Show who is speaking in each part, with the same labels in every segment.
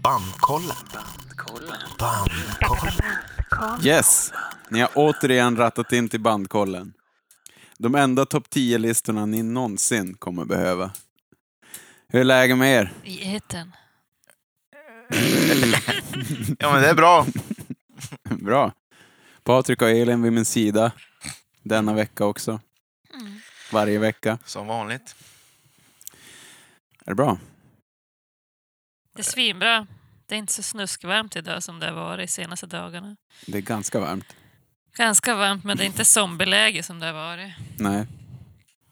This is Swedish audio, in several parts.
Speaker 1: Bandkollen. Bandkollen.
Speaker 2: Yes, ni har återigen rattat in till bandkollen. De enda topp 10-listorna ni någonsin kommer behöva. Hur är läget med er?
Speaker 3: I etern.
Speaker 1: Ja, men det är bra.
Speaker 2: Bra. Patrik och Elin vid min sida. Denna vecka också. Varje vecka.
Speaker 1: Som vanligt.
Speaker 2: Är det bra?
Speaker 3: Det är svinbra. Det är inte så snuskvarmt idag som det har varit de senaste dagarna.
Speaker 2: Det är ganska varmt.
Speaker 3: Ganska varmt, men det är inte zombieläge som det har varit.
Speaker 2: Nej.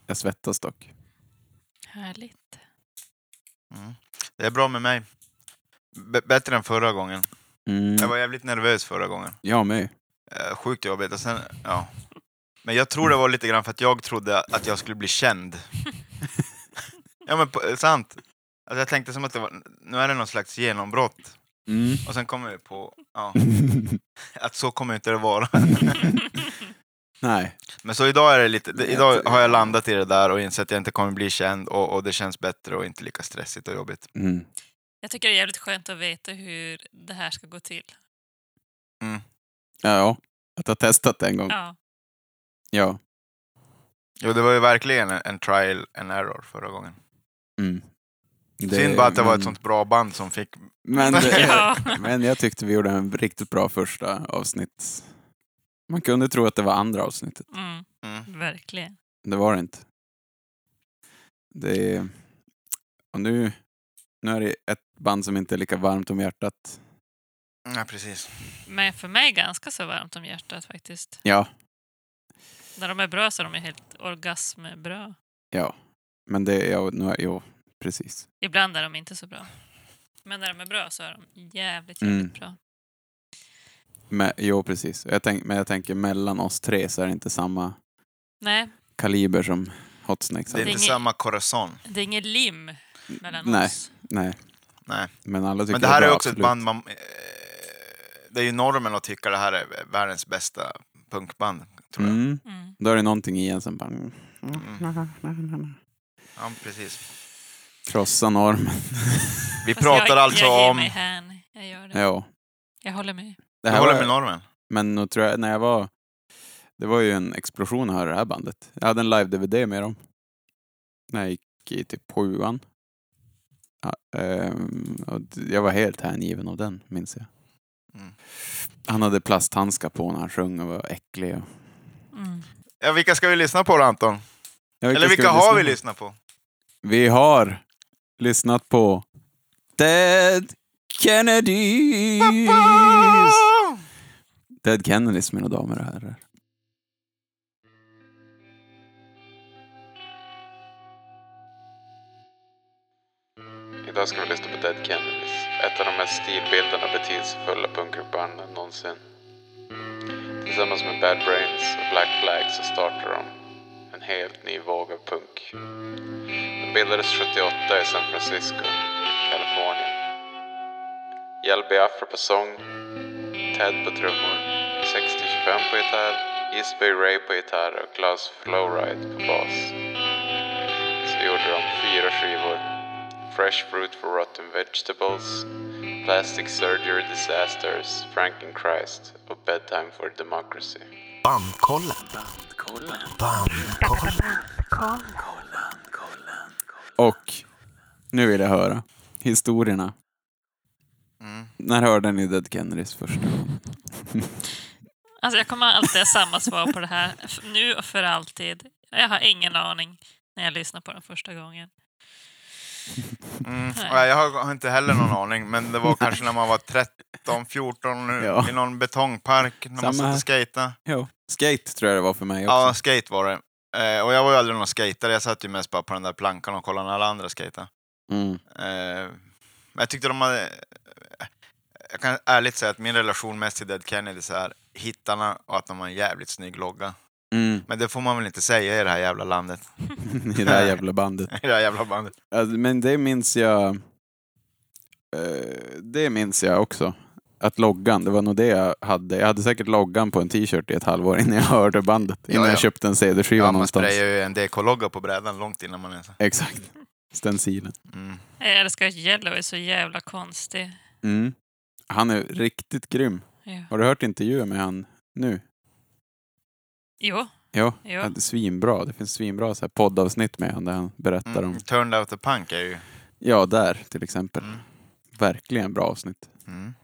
Speaker 2: Jag svettas dock.
Speaker 3: Härligt.
Speaker 1: Mm. Det är bra med mig. B- bättre än förra gången.
Speaker 2: Mm.
Speaker 1: Jag var jävligt nervös förra gången.
Speaker 2: Jag med.
Speaker 1: Eh, sjukt jobbigt. Och sen, ja. Men jag tror det var lite grann för att jag trodde att jag skulle bli känd. ja men på, eh, sant. Alltså jag tänkte som att det var, nu är det någon slags genombrott.
Speaker 2: Mm.
Speaker 1: Och sen kommer vi på ja, att så kommer inte det vara.
Speaker 2: Nej.
Speaker 1: Men så idag är det lite, det, idag har jag landat i det där och insett att jag inte kommer bli känd och, och det känns bättre och inte lika stressigt och jobbigt.
Speaker 2: Mm.
Speaker 3: Jag tycker det är jävligt skönt att veta hur det här ska gå till.
Speaker 2: Mm. Ja, ja, att jag har testat det en gång.
Speaker 3: Ja.
Speaker 2: Ja.
Speaker 1: Jo, det var ju verkligen en, en trial and error förra gången.
Speaker 2: Mm. Det-
Speaker 1: Synd bara att det var ett
Speaker 2: men-
Speaker 1: sånt bra band som fick...
Speaker 2: Men, det-
Speaker 3: Ja.
Speaker 2: men jag tyckte vi gjorde en riktigt bra första avsnitt. Man kunde tro att det var andra avsnittet.
Speaker 3: Mm,
Speaker 1: Mm.
Speaker 3: verkligen.
Speaker 2: Det var det inte. Det är... Och nu, nu är det ett band som inte är lika varmt om hjärtat.
Speaker 1: Ja, precis.
Speaker 3: Men för mig ganska så varmt om hjärtat faktiskt.
Speaker 2: Ja,
Speaker 3: När de är bra så är de är helt orgasmbra.
Speaker 2: ja. Men det är... Ja, nu är jo, precis.
Speaker 3: Ibland är de inte så bra. Men när de är bra så är de jävligt, jävligt
Speaker 2: Mm.
Speaker 3: bra.
Speaker 2: Men, jo, precis. Jag tänk, men jag tänker mellan oss tre så är det inte samma
Speaker 3: Nej,
Speaker 2: kaliber
Speaker 3: kaliber
Speaker 2: som Hot Snakes.
Speaker 1: Det är
Speaker 3: Det är
Speaker 1: inte
Speaker 3: inget-
Speaker 1: samma Corazon.
Speaker 3: det är inget lim mellan
Speaker 2: Nej.
Speaker 3: oss.
Speaker 2: Nej.
Speaker 1: Nej.
Speaker 2: Men alla tycker
Speaker 1: Men det här är
Speaker 2: bra,
Speaker 1: också ett
Speaker 2: absolut.
Speaker 1: band man... eh, Det är ju normen att tycka det här är världens bästa punkband, tror jag. Mm.
Speaker 2: Mm.
Speaker 3: Mm.
Speaker 2: Då är det någonting i en som bara...
Speaker 1: Ja, precis.
Speaker 2: Krossa normen.
Speaker 1: Vi
Speaker 3: Fast
Speaker 1: pratar
Speaker 3: jag,
Speaker 1: alltså
Speaker 3: jag ger
Speaker 1: om...
Speaker 3: mig hän. Jag gör det.
Speaker 2: ja.
Speaker 3: Jag håller med.
Speaker 2: Det
Speaker 1: Du
Speaker 2: här
Speaker 1: håller
Speaker 2: var-
Speaker 1: med normen?
Speaker 2: Men nog tror jag, när jag var... Det var ju en explosion att höra det här bandet. Jag hade en live-DVD med dem. När jag gick i typ sjuan. Ja, ehm, och d- jag var helt hängiven av den, minns jag.
Speaker 1: Mm.
Speaker 2: Han hade plasthandskar på när han sjöng och var äcklig. Och...
Speaker 3: Mm.
Speaker 1: Ja, vilka ska vi lyssna på då, Anton?
Speaker 2: Ja,
Speaker 1: Eller
Speaker 2: ska
Speaker 1: vilka har vi
Speaker 2: på?
Speaker 1: lyssnat på?
Speaker 2: Vi har lyssnat på Dead Kennedys! Dead Kennedys, mina damer och herrar. Idag ska vi lyssna på Dead Kennedys, ett av de mest stilbildande och betydelsefulla punkrockbanden någonsin. Tillsammans med Bad Brains och Black Flag så startar de en helt ny våg av punk. Den bildades 78 i San Francisco, Kalifornien. Yal Biafra på sång, Ted på trummor, 6025 på gitarr, Eastby Ray på gitarr och Klaus Flowride på bas. Så gjorde de fyra skivor. Fresh Fruit for Rotten Vegetables, Plastic Surgery Disasters, Franken Christ och Bedtime for Democracy.
Speaker 4: Bandkollen. Bandkollen. Bandkollen.
Speaker 2: Och nu vill jag höra historierna.
Speaker 1: Mm.
Speaker 2: När hörde ni Dead Kennedys första gången?
Speaker 3: Alltså jag kommer alltid ha samma svar på det här, f- nu och för alltid. Jag har ingen aning när jag lyssnar på den första gången.
Speaker 1: Mm.
Speaker 3: Nej.
Speaker 1: Nej, jag har har inte heller någon aning, men det var kanske när man var 13, 14
Speaker 2: Ja.
Speaker 1: i någon betongpark när
Speaker 2: Samma
Speaker 1: man satt
Speaker 2: här.
Speaker 1: och skejtade.
Speaker 2: Jo. Skate tror jag det var för mig också.
Speaker 1: Ja, skate var det. Eh, och jag var ju aldrig någon skatare, jag satt ju mest bara på den där plankan och kollade när alla andra skejtade.
Speaker 2: Mm.
Speaker 1: Eh, men jag tyckte de hade... eh, Jag kan ärligt säga att min relation mest till Dead Kennedys är hittarna och att de har en jävligt snygg logga.
Speaker 2: Mm.
Speaker 1: Men det får man väl inte säga i det här jävla landet,
Speaker 2: I det här jävla bandet.
Speaker 1: i det här jävla bandet.
Speaker 2: Alltså, men det minns jag... eh, det minns jag också. Att loggan, det var nog det jag hade. Jag hade säkert loggan på en t-shirt i ett halvår innan jag hörde bandet. Innan
Speaker 1: Ja, ja.
Speaker 2: jag köpte en CD-skiva
Speaker 1: Ja, man
Speaker 2: någonstans.
Speaker 1: sprayar ju en DK-logga på brädan långt innan man ens...
Speaker 2: Exakt. Stencilen.
Speaker 1: Mm.
Speaker 3: Jag älskar att Yellow är så jävla konstig.
Speaker 2: Mm. Han är riktigt grym.
Speaker 3: Ja.
Speaker 2: Har du hört intervjuer med han nu?
Speaker 3: Jo,
Speaker 2: Ja,
Speaker 3: Jo.
Speaker 2: ja. svinbra. Det finns svinbra så här poddavsnitt med han där han berättar om...
Speaker 1: Mm. Turned out the punk är ju...
Speaker 2: Ja, där till exempel.
Speaker 1: Mm.
Speaker 2: Verkligen bra avsnitt.
Speaker 1: Mm.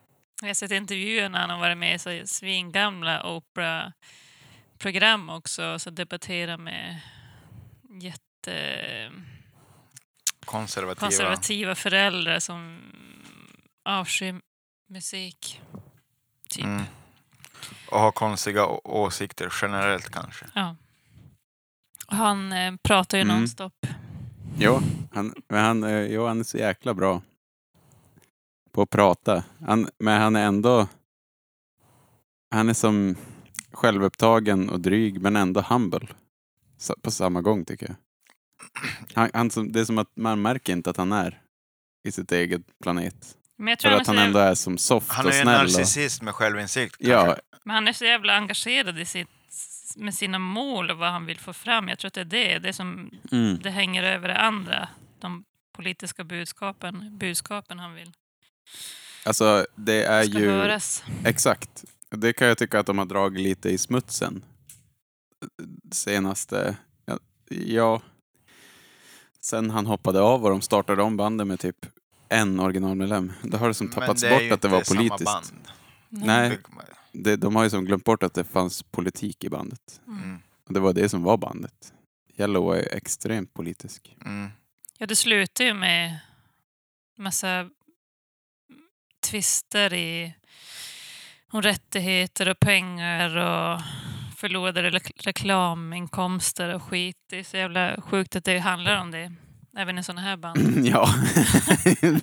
Speaker 3: jag har sett intervjuer när han har varit med i så svingamla Oprah-program också, så debatterar med jätte...
Speaker 1: Konservativa.
Speaker 3: konservativa föräldrar som avskyr musik. Typ.
Speaker 1: Mm. Och har konstiga å- åsikter generellt kanske.
Speaker 3: Ja. Och Han eh, pratar ju
Speaker 2: Mm.
Speaker 3: nonstop.
Speaker 2: Jo, han, men han, eh, jo, han är så jäkla bra på att prata. Han, men han är ändå... Han är som självupptagen och dryg, men ändå humble. Sa- På samma gång, tycker jag. Han, han som, det är som att man märker inte att han är i sitt eget planet.
Speaker 3: Men jag
Speaker 2: För
Speaker 3: tror han är,
Speaker 2: att
Speaker 3: så
Speaker 2: han ändå
Speaker 3: jävla,
Speaker 2: är som soft
Speaker 1: Han
Speaker 2: och
Speaker 1: är ju en
Speaker 2: snäll. Och,
Speaker 1: narcissist med självinsikt. kanske.
Speaker 2: ja,
Speaker 3: men han är så jävla engagerad i sitt, med sina mål och vad han vill få fram. Jag tror att det är det, det som
Speaker 2: mm,
Speaker 3: det hänger över det andra. De politiska budskapen, budskapen han vill
Speaker 2: alltså det är
Speaker 3: ska
Speaker 2: ju...
Speaker 3: höras.
Speaker 2: Exakt. Det kan jag tycka att de har dragit lite i smutsen. Senaste... ja, Ja. Sen han hoppade av och de startade om bandet med typ en originalmedlem. Då har det som
Speaker 1: Men
Speaker 2: tappats
Speaker 1: är ju
Speaker 2: bort att det var
Speaker 1: inte samma
Speaker 2: politiskt.
Speaker 1: band.
Speaker 2: Nej, det, de har ju som glömt bort att det fanns politik i bandet.
Speaker 1: Mm.
Speaker 2: Och det var det som var bandet. Yellow är extremt politisk.
Speaker 1: Mm.
Speaker 3: Ja, det slutar ju med massa tvister i, om rättigheter och pengar och förlorade re- reklaminkomster och skit. Det är så jävla sjukt att det handlar om det, även i sådana här band.
Speaker 2: ja,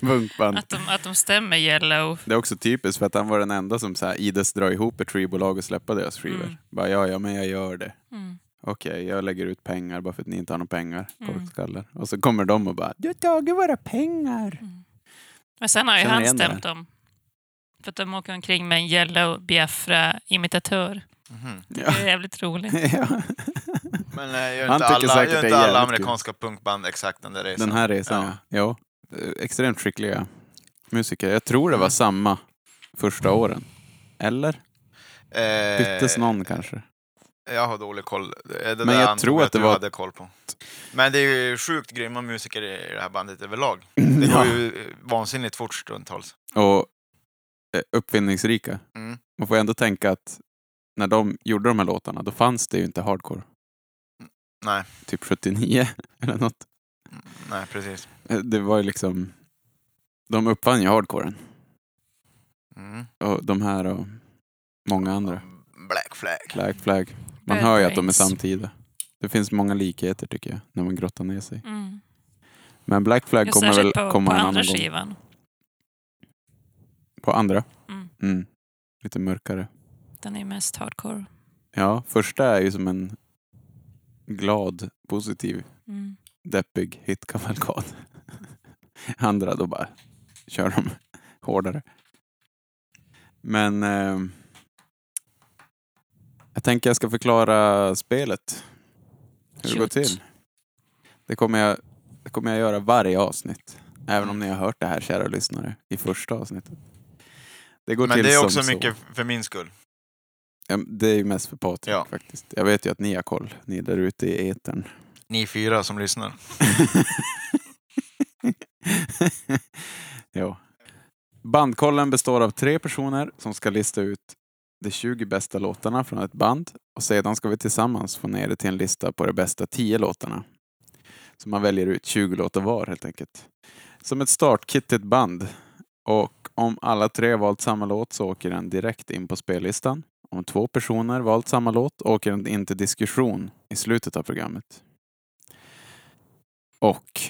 Speaker 2: punkband.
Speaker 3: Att de, att de stämmer Yellow.
Speaker 2: Det är också typiskt för att han var den enda som så här, ides dra ihop ett skivbolag och släppa deras skivor.
Speaker 3: Mm.
Speaker 2: Bara ja, ja, men jag gör det.
Speaker 3: Mm.
Speaker 2: Okej, jag lägger ut pengar bara för att ni inte har några pengar.
Speaker 3: Mm.
Speaker 2: Korkskallar. Och så kommer de och bara Du har tagit våra pengar.
Speaker 3: mm. Men sen har ju
Speaker 2: Känner
Speaker 3: han
Speaker 2: igen det här.
Speaker 3: stämt dem. För att de åker omkring med en Yellow Biafra-imitatör.
Speaker 1: Mhm.
Speaker 3: Det
Speaker 2: Ja.
Speaker 3: är jävligt roligt.
Speaker 2: ja.
Speaker 1: Men eh, gör
Speaker 2: Han
Speaker 1: inte
Speaker 2: tycker säkert
Speaker 1: alla, gör
Speaker 2: det är
Speaker 1: inte alla
Speaker 2: jävligt kul.
Speaker 1: amerikanska punkband exakt den där resan?
Speaker 2: Den här resan, ja. ja. Extremt skickliga musiker. Jag tror det var
Speaker 1: Mm.
Speaker 2: samma första åren. Eller?
Speaker 1: Eh,
Speaker 2: Byttes någon kanske?
Speaker 1: Jag har dålig koll. Eh, Det är det
Speaker 2: Men
Speaker 1: där
Speaker 2: jag
Speaker 1: Anton
Speaker 2: tror att det
Speaker 1: du
Speaker 2: var-
Speaker 1: hade koll på. Men det är ju sjukt grymma musiker i det här bandet överlag. Det går ju eh, vansinnigt fort stundtals.
Speaker 2: Och eh, uppfinningsrika.
Speaker 1: Mm.
Speaker 2: Man får ändå tänka att när de gjorde de här låtarna, då fanns det ju inte hardcore.
Speaker 1: Mm, Nej.
Speaker 2: Typ 79 eller något.
Speaker 1: Mm, Nej, precis.
Speaker 2: Eh, Det var ju liksom... De uppfann ju hardcoren.
Speaker 1: Mm.
Speaker 2: Och de här och många andra.
Speaker 1: Black Flag.
Speaker 2: Black Flag. Man
Speaker 3: Bad
Speaker 2: hör ju att de är
Speaker 3: Brains.
Speaker 2: samtida. Det finns många likheter tycker jag, när man grottar ner sig.
Speaker 3: Mm.
Speaker 2: Men Black Flag
Speaker 3: Ja,
Speaker 2: kommer väl
Speaker 3: särskilt på,
Speaker 2: komma
Speaker 3: på
Speaker 2: en
Speaker 3: andra
Speaker 2: annan gång.
Speaker 3: skivan.
Speaker 2: På andra?
Speaker 3: Mm.
Speaker 2: Mm. Lite mörkare.
Speaker 3: Den är ju mest hardcore.
Speaker 2: Ja, första är ju som en glad, positiv,
Speaker 3: Mm.
Speaker 2: deppig hitkavalkad. andra då bara kör de hårdare. Men eh, jag tänker jag ska förklara spelet. Hur det går
Speaker 3: Shoot.
Speaker 2: till. Det kommer, jag, det kommer jag göra varje avsnitt. Även om ni har hört det här, kära lyssnare, i första avsnittet. Det går
Speaker 1: Men
Speaker 2: till
Speaker 1: det är
Speaker 2: som
Speaker 1: också
Speaker 2: så.
Speaker 1: mycket för min skull.
Speaker 2: Ja, det är ju mest för Patrik
Speaker 1: Ja.
Speaker 2: faktiskt. Jag vet ju att ni har koll, ni där ute i etern.
Speaker 1: Ni fyra som lyssnar.
Speaker 2: ja. Bandkollen består av tre personer som ska lista ut de 20 bästa låtarna från ett band och sedan ska vi tillsammans få ner det till en lista på de bästa 10 låtarna. Så man väljer ut 20 låtar var helt enkelt. Som ett startkit till ett band. Och om alla tre valt samma låt så åker den direkt in på spellistan. Om två personer valt samma låt åker den in till diskussion i slutet av programmet. Och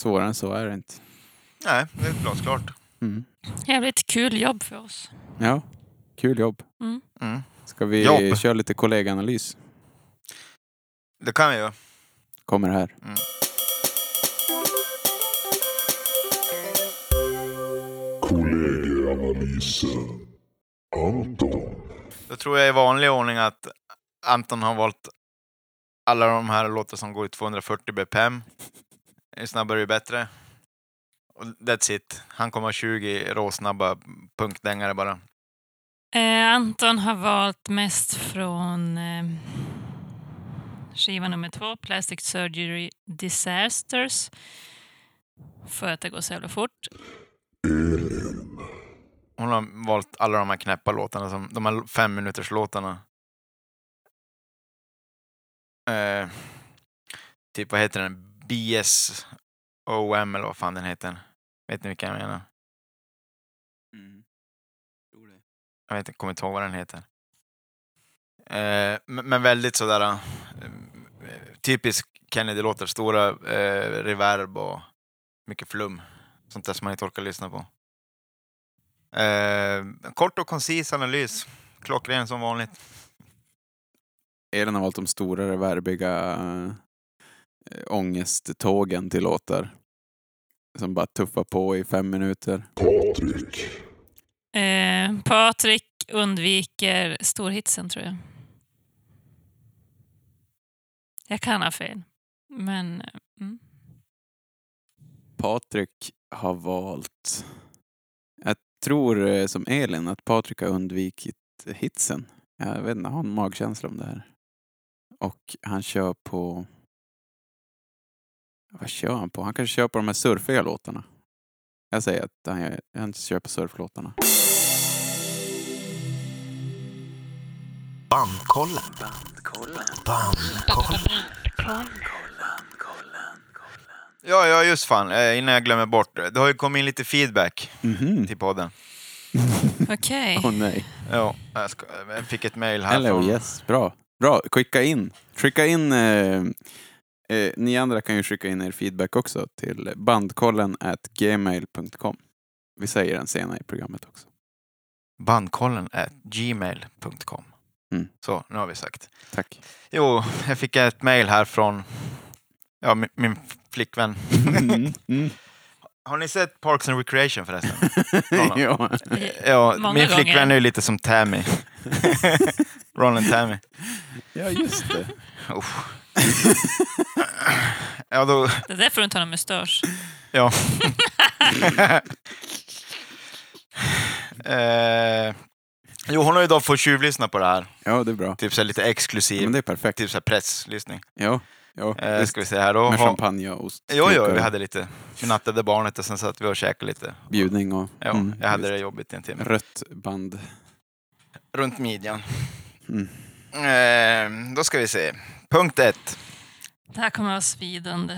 Speaker 2: svårare än så är det inte.
Speaker 1: Nej, det är glasklart.
Speaker 2: Mm.
Speaker 3: Jävligt kul jobb för oss.
Speaker 2: Ja, kul jobb.
Speaker 3: Mm.
Speaker 1: Mm.
Speaker 2: Ska vi
Speaker 1: Jobb.
Speaker 2: köra lite kollegaanalys?
Speaker 1: Det kan vi ju.
Speaker 2: Kommer här.
Speaker 1: Mm.
Speaker 5: Kollegieanalysen. Anton.
Speaker 1: Då tror jag i vanlig ordning att Anton har valt alla de här låtar som går i 240 bpm. Ju snabbare ju bättre. Och that's it. Han kommer ha 20 råsnabba punkdängare bara.
Speaker 3: Eh, Anton har valt mest från eh, skiva nummer två, Plastic Surgery Disasters. För att det går så jävla fort.
Speaker 5: Elin,
Speaker 1: Hon har valt alla de här knäppa låtarna, som, de här fem minuters låtarna. Eh, typ vad heter den? BSOM eller vad fan den heter. Vet ni vilka jag menar? Jag vet inte, kommer inte ihåg vad den heter. Eh, men, men väldigt sådär eh, typisk Kennedy-låtar. Stora eh, reverb och mycket flum. Sånt där som man inte orkar lyssna på. Eh, kort och koncis analys. Klockren som vanligt.
Speaker 2: Elin har valt de stora reverbiga äh, ångesttågen till låtar. Som bara tuffar på i fem minuter.
Speaker 5: Patrik,
Speaker 3: Eh, Patrik undviker storhitsen tror jag. Jag kan ha fel. Men eh, mm.
Speaker 2: Patrik har valt... Jag tror eh, som Elin att Patrik har undvikit hitsen. Jag vet inte, jag har en magkänsla om det här. Och han kör på... Vad kör han på? Han kanske kör på de här surfiga låtarna. Jag säger att han, gör- han kör på surflåtarna.
Speaker 4: Bandkollen. Bandkollen.
Speaker 1: Ja, ja just fan, eh, innan jag glömmer bort. Det har ju kommit in lite feedback
Speaker 2: Mhm.
Speaker 1: till podden.
Speaker 3: okej.
Speaker 2: Åh nej.
Speaker 1: Ja, jag, ska, jag fick ett mejl här.
Speaker 2: Hello,
Speaker 1: från-
Speaker 2: yes. Bra. Bra, skicka in. Skicka in. Eh, eh, ni andra kan ju skicka in er feedback också till bandkollen at gmail.com. Vi säger den senare i programmet också.
Speaker 1: Bandkollen at gmail.com.
Speaker 2: Mm.
Speaker 1: Så, nu har vi sagt.
Speaker 2: Tack.
Speaker 1: Jo, jag fick ett mejl här från ja, min, min flickvän.
Speaker 2: Mm, mm.
Speaker 1: Har ni sett Parks and Recreation förresten? Roland.
Speaker 2: ja.
Speaker 1: Ja,
Speaker 3: Många
Speaker 1: min
Speaker 3: gånger.
Speaker 1: flickvän är ju lite som Tammy. Ron and Tammy.
Speaker 2: ja, just det.
Speaker 1: Uff. Ja, då,
Speaker 3: Det är därför du inte har någon mustasch.
Speaker 1: Ja. eh, jo, hon har ju då fått tjuvlyssna på det här.
Speaker 2: Ja, det är bra.
Speaker 1: Typ så här lite exklusiv,
Speaker 2: Ja, men det är perfekt.
Speaker 1: typ så här presslyssning.
Speaker 2: Ja, ja.
Speaker 1: Eh,
Speaker 2: visst.
Speaker 1: ska vi se här då.
Speaker 2: Med
Speaker 1: Ha,
Speaker 2: champagne och ost.
Speaker 1: jo, jo,
Speaker 2: och
Speaker 1: vi hade lite. Vi nattade barnet och sen satt vi och käkade lite.
Speaker 2: Bjudning och...
Speaker 1: Ja,
Speaker 2: mm,
Speaker 1: jag hade
Speaker 2: visst.
Speaker 1: det jobbigt i en timme.
Speaker 2: Rött band.
Speaker 1: Runt midjan.
Speaker 2: Mm.
Speaker 1: Eh, då ska vi se. Punkt ett.
Speaker 3: Det här kommer att vara svidande.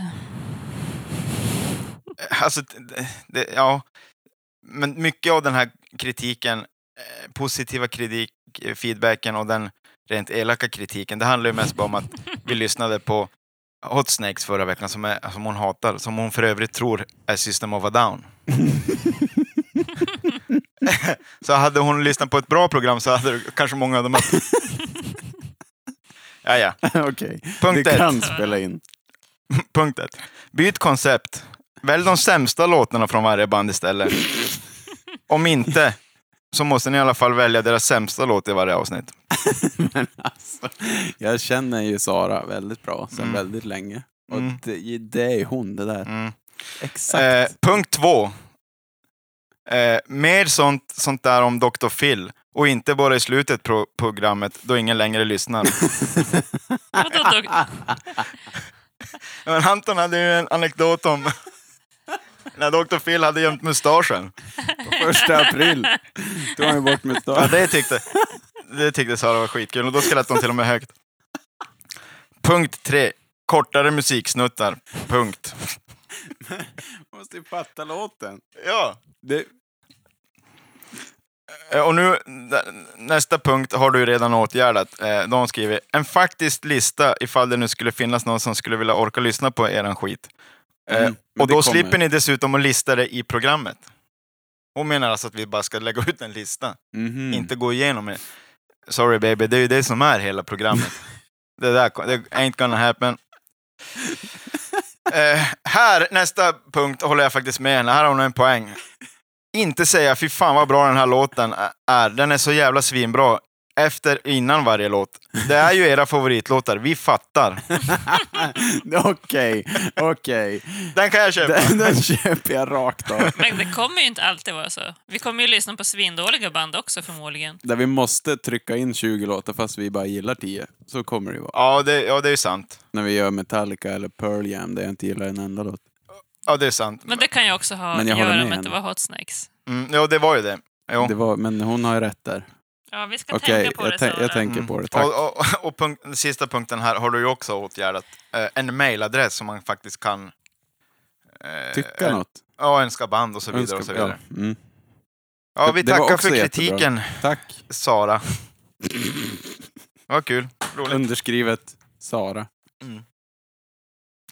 Speaker 1: Eh, Alltså, det, det, ja. Men mycket av den här kritiken, eh, positiva kritik, eh, feedbacken och den rent elaka kritiken, det handlar ju mest bara om att vi lyssnade på Hot Snakes förra veckan som, är, som hon hatar, som hon för övrigt tror är System of a Down. så hade hon lyssnat på ett bra program så hade kanske många av dem... Ja, ja.
Speaker 2: Okej.
Speaker 1: Punkt
Speaker 2: Det
Speaker 1: ett.
Speaker 2: kan spela in.
Speaker 1: Punkt ett. Byt koncept. Välj de sämsta låtarna från varje band istället. Om inte, så måste ni i alla fall välja deras sämsta låt i varje avsnitt.
Speaker 2: Men alltså, jag känner ju Sara väldigt bra sedan
Speaker 1: Mm.
Speaker 2: väldigt länge. Och
Speaker 1: Mm.
Speaker 2: det, det är ju hon det där.
Speaker 1: Mm. Eh,
Speaker 2: Exakt.
Speaker 1: punkt två. Eh, mer sånt, sånt där om Dr. Phil. Och inte bara i slutet på programmet, då ingen längre lyssnar.
Speaker 3: Vadå, då?
Speaker 1: Men Anton hade ju en anekdot om när Dr. Phil hade gömt mustaschen.
Speaker 2: Första april tog han ju bort
Speaker 1: Ja,
Speaker 2: mustaschen.
Speaker 1: det tyckte, det tyckte Sara var skitkul och då skrattade hon till och med högt. Punkt tre. Kortare musiksnuttar. Punkt.
Speaker 2: måste ju fatta låten. Mm,
Speaker 1: Ja.
Speaker 2: Det,
Speaker 1: Eh, Och nu, nä- nästa punkt har du ju redan åtgärdat. Eh, De skriver en faktisk lista ifall det nu skulle finnas någon som skulle vilja orka lyssna på eran skit. Eh,
Speaker 2: Mm, men
Speaker 1: och
Speaker 2: det kommer.
Speaker 1: då slipper ni dessutom att lista det i programmet. Hon menar alltså att vi bara ska lägga ut en lista,
Speaker 2: Mhm.
Speaker 1: inte gå igenom det. Sorry baby, det är ju det som är hela programmet. det där det ain't gonna happen. Eh, här, nästa punkt, håller jag faktiskt med henne. Här har hon en poäng. Inte säga fy fan vad bra den här låten är. Den är så jävla svinbra. efter, innan varje låt. Det är ju era favoritlåtar, vi fattar.
Speaker 2: Okej, okej.
Speaker 1: Den kan jag köpa.
Speaker 2: Den, den köper jag rakt av.
Speaker 3: Men det kommer ju inte alltid vara så. Vi kommer ju lyssna på svindåliga band också förmodligen.
Speaker 2: Där vi måste trycka in 20 låtar fast vi bara gillar 10. Så kommer det ju vara.
Speaker 1: Ja, det, ja, det är ju sant.
Speaker 2: När vi gör Metallica eller Pearl Jam där jag inte gillar en enda låt.
Speaker 1: Ja, det är sant.
Speaker 3: Men det kan ju också ha att
Speaker 2: Men jag håller
Speaker 3: göra
Speaker 2: med
Speaker 3: med att
Speaker 2: henne.
Speaker 3: det var Hot Snakes.
Speaker 1: Mm, ja, det var ju det. Jo.
Speaker 2: Det var, men hon har ju rätt där.
Speaker 3: Ja, vi ska
Speaker 2: Okej,
Speaker 3: tänka på
Speaker 2: jag,
Speaker 3: det,
Speaker 2: tän-
Speaker 3: Sara.
Speaker 2: jag tänker på det. Tack.
Speaker 1: Mm. Och, och, och punkt, den sista punkten här har du ju också åtgärdat. Eh, en mailadress som man faktiskt kan... eh,
Speaker 2: Tycka något.
Speaker 1: Ja, önska band och så vidare. och
Speaker 2: Önska-
Speaker 1: så vidare.
Speaker 2: ja, mm.
Speaker 1: Ja, vi
Speaker 2: Det- det var
Speaker 1: tackar
Speaker 2: också
Speaker 1: för
Speaker 2: jättebra.
Speaker 1: kritiken,
Speaker 2: Tack.
Speaker 1: Sara. Vad kul. Roligt. Mm.
Speaker 2: Underskrivet Sara.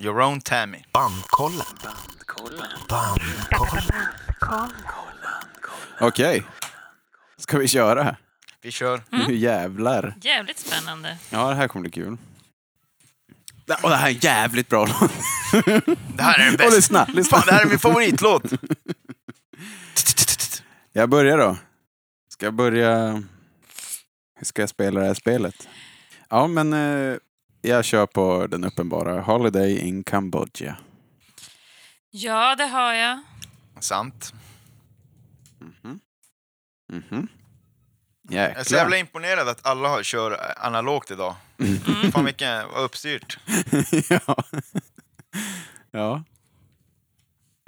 Speaker 1: Your own Tammy.
Speaker 4: Bandkollen. Bandkollen.
Speaker 2: Okej. Ska vi köra?
Speaker 1: Vi kör.
Speaker 2: Nu jävlar.
Speaker 3: Jävligt spännande.
Speaker 2: Ja, det här kommer bli kul. Det- Och det här är en jävligt bra låt.
Speaker 1: Det här är den
Speaker 2: Och
Speaker 1: bästa.
Speaker 2: lyssna, lyssna.
Speaker 1: Fan, det här är min favoritlåt.
Speaker 2: Jag börjar då. Ska jag börja... Hur ska jag spela det här spelet? Ja, men eh, jag kör på den uppenbara Holiday in Cambodia.
Speaker 3: Ja, det har jag.
Speaker 1: Sant.
Speaker 2: Mhm.
Speaker 1: Jag är så jävla
Speaker 2: Jäklar.
Speaker 1: imponerad att alla har- kör analogt idag.
Speaker 2: Mm.
Speaker 1: Fan vilken, vad uppstyrt.
Speaker 2: ja. ja.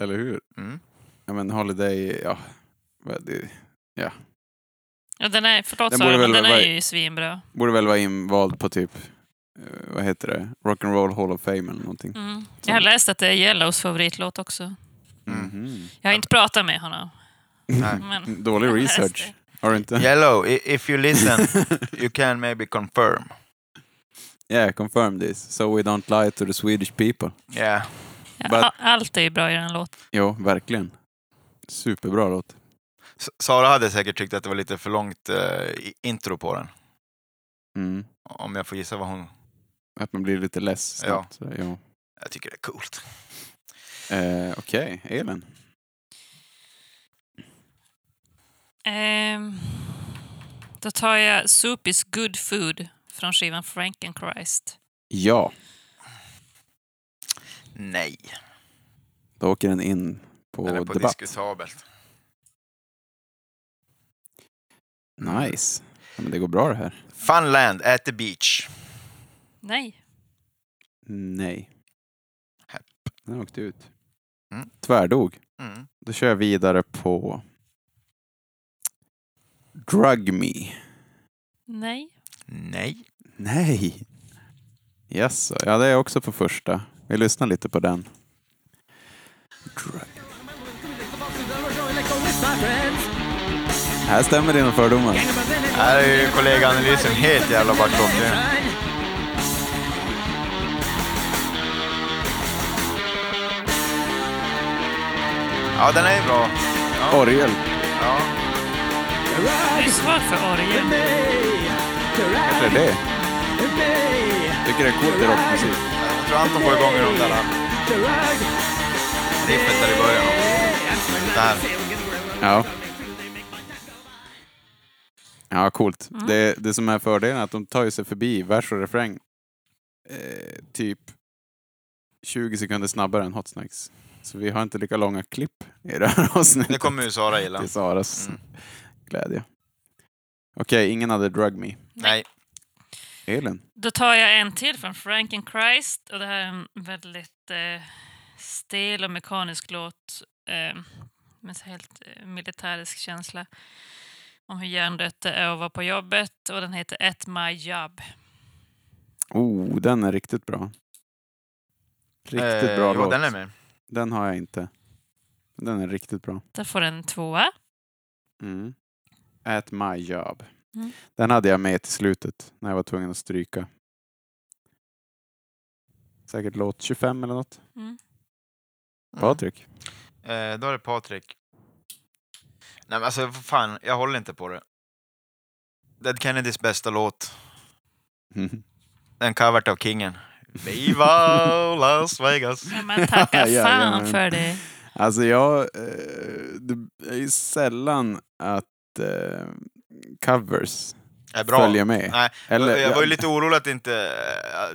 Speaker 2: Eller hur?
Speaker 1: Mm.
Speaker 2: Ja, men Holiday... Ja. Vad- Det
Speaker 3: Ja, den är, förlåt
Speaker 2: Den
Speaker 3: Sara,
Speaker 2: borde
Speaker 3: men
Speaker 2: väl
Speaker 3: den är
Speaker 2: vara-
Speaker 3: ju svinbra.
Speaker 2: borde väl vara invald på typ... eh, Vad heter det? Rock'n'Roll Hall of Fame eller någonting.
Speaker 3: Mm. Jag har läst att det är Yellows favoritlåt också.
Speaker 2: Mhm.
Speaker 3: Jag har inte pratat med honom.
Speaker 1: Mm. Nej.
Speaker 3: Men
Speaker 2: Mm, Dålig
Speaker 3: Jag läste.
Speaker 2: research. Har du inte?
Speaker 1: Yellow, i- if you listen, you can maybe confirm.
Speaker 2: Yeah, confirm this. So we don't lie to the Swedish people.
Speaker 1: Yeah.
Speaker 3: ja,
Speaker 2: But-
Speaker 3: a- allt är ju bra i den låten.
Speaker 2: Jo, verkligen. Superbra låt.
Speaker 1: S- Sara hade säkert tyckt att det var lite för långt eh, i- intro på den.
Speaker 2: Mm.
Speaker 1: Om jag får gissa vad hon...
Speaker 2: Att man blir lite less snabbt. Ja. Jo.
Speaker 1: Jag tycker det är coolt.
Speaker 2: Eh, Okej, Elin.
Speaker 3: Ehm, då tar jag Soup is good food från skivan Frankenchrist.
Speaker 2: Ja,
Speaker 1: Nej,
Speaker 2: då åker den in på,
Speaker 1: den är på
Speaker 2: debatt.
Speaker 1: diskutabelt.
Speaker 2: Nice. Ja, men det går bra det här.
Speaker 1: Funland at the beach.
Speaker 3: Nej.
Speaker 2: Nej.
Speaker 1: Häpp.
Speaker 2: Den åkte ut.
Speaker 1: Mm.
Speaker 2: Tvärdog.
Speaker 1: Mm.
Speaker 2: Då kör jag vidare på Drug Me.
Speaker 3: Nej.
Speaker 1: Nej.
Speaker 2: Nej. Yes, sir. ja det är också på första. Vi lyssnar lite på den. Drag. Här stämmer dina fördomar.
Speaker 1: Här är ju kollegaanalysen helt jävla backåt. Ja, den är ju bra.
Speaker 2: Orgel.
Speaker 1: Ja.
Speaker 3: Det är svårt för orgel.
Speaker 2: Kanske är det. Tycker det är coolt i rockmusik.
Speaker 1: Jag tror Anton får igång de där riffet där i början. Det här.
Speaker 2: Ja. Ja, coolt.
Speaker 1: Mm.
Speaker 2: Det, det som är fördelen är att de tar ju sig förbi vers och refräng eh, typ 20 sekunder snabbare än Hot Snacks. Så vi har inte lika långa klipp i det här avsnittet.
Speaker 1: Det kommer ju Sara gilla.
Speaker 2: till Saras
Speaker 1: Mm.
Speaker 2: glädje. Okej, ingen hade Drug Me.
Speaker 1: Nej.
Speaker 2: Elin?
Speaker 3: Då tar jag en till från Frankenchrist. Och det här är en väldigt eh, stel och mekanisk låt. Eh, med så helt eh, militärisk känsla. Om hur hjärndött det är att vara på jobbet. Och den heter At My Job.
Speaker 2: Oh, den är riktigt bra. Riktigt
Speaker 1: Eh,
Speaker 2: bra
Speaker 1: jo,
Speaker 2: låt.
Speaker 1: den är med.
Speaker 2: Den har jag inte. Den är riktigt bra.
Speaker 3: Där får den tvåa.
Speaker 2: Mm. At my job.
Speaker 3: Mm.
Speaker 2: Den hade jag med till slutet när jag var tvungen att stryka. Säkert låt 25 eller något.
Speaker 3: Mm.
Speaker 2: Patrik?
Speaker 1: Eh, då är det Patrik. Nej men alltså för fan, jag håller inte på det. Dead Kennedys bästa låt,
Speaker 2: Mm.
Speaker 1: den covert av Kingen. Viva Las Vegas!
Speaker 3: Ja, men tacka
Speaker 2: Jajamän.
Speaker 3: fan för det.
Speaker 2: Alltså jag... Eh, det är ju sällan att eh, covers
Speaker 1: Är bra.
Speaker 2: följer med.
Speaker 1: Nej,
Speaker 2: Eller-
Speaker 1: jag var ju lite orolig att inte...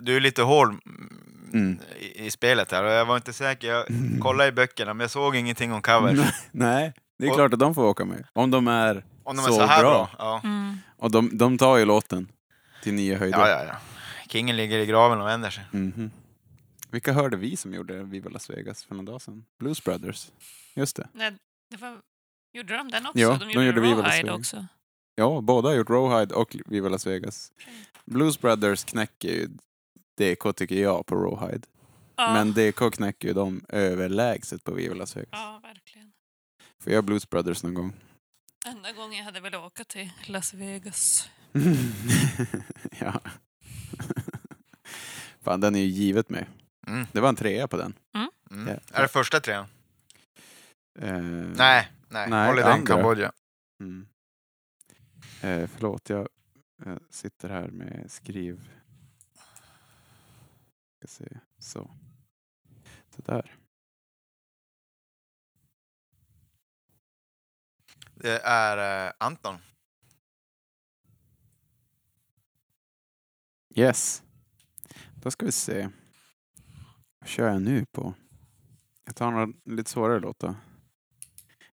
Speaker 1: Du är lite hård mm,
Speaker 2: Mm.
Speaker 1: i, i spelet här och jag var inte säker. Jag kollade i böckerna men jag såg ingenting om covers.
Speaker 2: Mm. Nej, det är
Speaker 1: Och-
Speaker 2: klart att de får åka med. Om de är...
Speaker 1: Om de är
Speaker 2: Så
Speaker 1: så, här bra.
Speaker 2: bra.
Speaker 1: Ja.
Speaker 3: Mm.
Speaker 2: Och de, de tar ju låten till nya höjder.
Speaker 1: Ja, ja, ja. Kingen ligger i graven och vänder sig.
Speaker 2: Mhm. Vilka hörde vi som gjorde Viva Las Vegas för några dagar sedan? Blues Brothers. Just det.
Speaker 3: Nej, det var... Gjorde de den också?
Speaker 2: Ja,
Speaker 3: de gjorde,
Speaker 2: Viva Las
Speaker 3: Rawhide
Speaker 2: Vegas.
Speaker 3: också.
Speaker 2: Ja, båda har gjort Rawhide och Viva Las Vegas. Blues Brothers knäcker ju DK tycker jag på Rawhide.
Speaker 3: Ja,
Speaker 2: Men DK knäcker ju dem överlägset på Viva Las Vegas.
Speaker 3: ja, verkligen.
Speaker 2: Får jag Blues Brothers någon gång?
Speaker 3: Enda gången jag hade velat åka till Las Vegas.
Speaker 2: ja. Fan, den är ju givet med.
Speaker 1: Mm.
Speaker 2: Det var en trea på den.
Speaker 1: Mm.
Speaker 2: Ja.
Speaker 1: Är det första trean?
Speaker 2: Eh,
Speaker 1: Nej, nej.
Speaker 2: Nej,
Speaker 1: Holiday in
Speaker 2: andra.
Speaker 1: Kambodja.
Speaker 2: Mm. Eh, förlåt, jag, jag sitter här med skriv... Ska se. Så. Så där.
Speaker 1: Det är eh, Anton.
Speaker 2: Yes. Då ska vi se. Vad kör jag nu på? Jag tar några lite svårare låtar.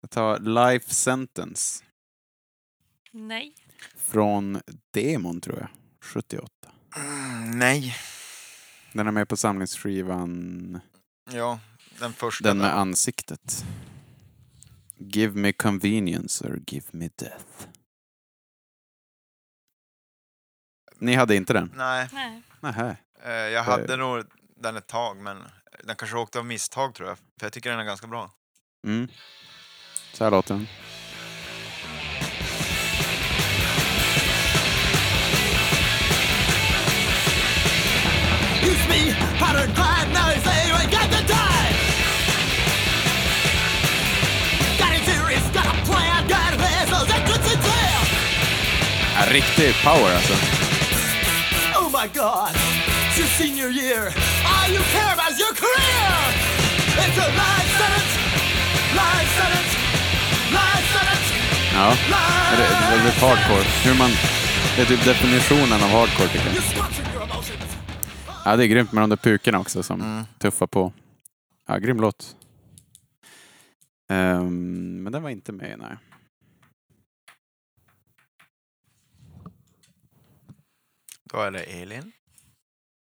Speaker 2: Jag tar Life Sentence
Speaker 3: Nej.
Speaker 2: från Demon, tror jag. 78.
Speaker 1: Mm, nej.
Speaker 2: Den är med på samlingsskivan
Speaker 1: Ja, den första.
Speaker 2: Den
Speaker 1: där.
Speaker 2: med ansiktet. Give me convenience or give me death. Ni hade inte den?
Speaker 1: Nej,
Speaker 3: Nej.
Speaker 2: Nähä.
Speaker 1: eh, jag hade nog den ett tag, men den kanske åkte av misstag tror jag. För jag tycker den är ganska bra.
Speaker 2: Mm. Så här låter den.
Speaker 6: Use me, pattern crime, now you say I got the time Got it serious, got a plan, got a vessel, that could sit there
Speaker 2: Ja, riktig power alltså.
Speaker 6: Oh my god, it's your senior year All you care about is your career It's a life sentence, life sentence, life sentence,
Speaker 2: Ja. Det
Speaker 6: life
Speaker 2: är väldigt hardcore. Hur man... Det är typ definitionen av hardcore tycker jag.
Speaker 6: You're squashing your emotions
Speaker 2: Ja, det är grymt med de där pukorna också som tuffar på. Ja, grym låt. Ehm, men den var inte med, nej.
Speaker 1: Då är det Elin.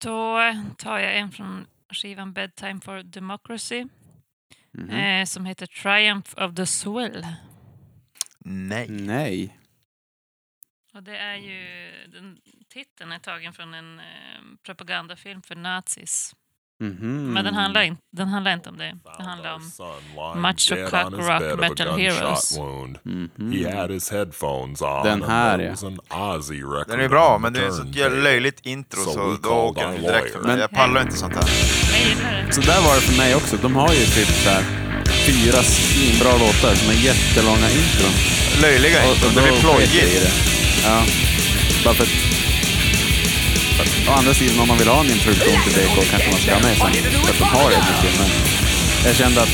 Speaker 3: Då tar jag en från skivan Bedtime for Democracy
Speaker 2: Mhm.
Speaker 7: Mm.
Speaker 3: eh, som heter Triumph of the Soul.
Speaker 1: Nej.
Speaker 2: Nej.
Speaker 3: Och det är ju, den titeln är tagen från en eh, propagandafilm för nazis.
Speaker 2: Mhm.
Speaker 3: Men den
Speaker 7: Mm.
Speaker 3: handlar, in, den handlar inte om det. Den handlar om...
Speaker 7: son lying
Speaker 3: Macho
Speaker 7: dead
Speaker 3: cock
Speaker 7: on his
Speaker 3: rock
Speaker 7: bed of a
Speaker 3: metal
Speaker 7: gunshot
Speaker 3: heroes. Mm-hmm.
Speaker 7: wound.
Speaker 2: Mhm.
Speaker 7: He had his headphones on
Speaker 2: Den här,
Speaker 7: and
Speaker 2: ja.
Speaker 7: there was an Ozzy record
Speaker 1: Den är bra,
Speaker 7: on
Speaker 1: men det är
Speaker 7: the
Speaker 1: ett sånt
Speaker 7: turntable.
Speaker 1: jävla löjligt intro
Speaker 7: So
Speaker 1: så
Speaker 7: we
Speaker 1: då
Speaker 7: called
Speaker 1: åker den
Speaker 7: our
Speaker 1: direkt för
Speaker 7: lawyer.
Speaker 1: mig. Jag pallar inte sånt här.
Speaker 3: Jag gillar det.
Speaker 2: Så där var det för mig också. De har ju typ så här fyra svinbra låtar som är jättelånga intron.
Speaker 1: Löjliga intron, det blir
Speaker 2: sket jag i
Speaker 1: plojigt.
Speaker 2: det. Ja. Bara för att... för att- Å andra sidan, om man vill ha en introduktion till DK kanske man ska ha med sen. För att de har det mycket, men jag kände att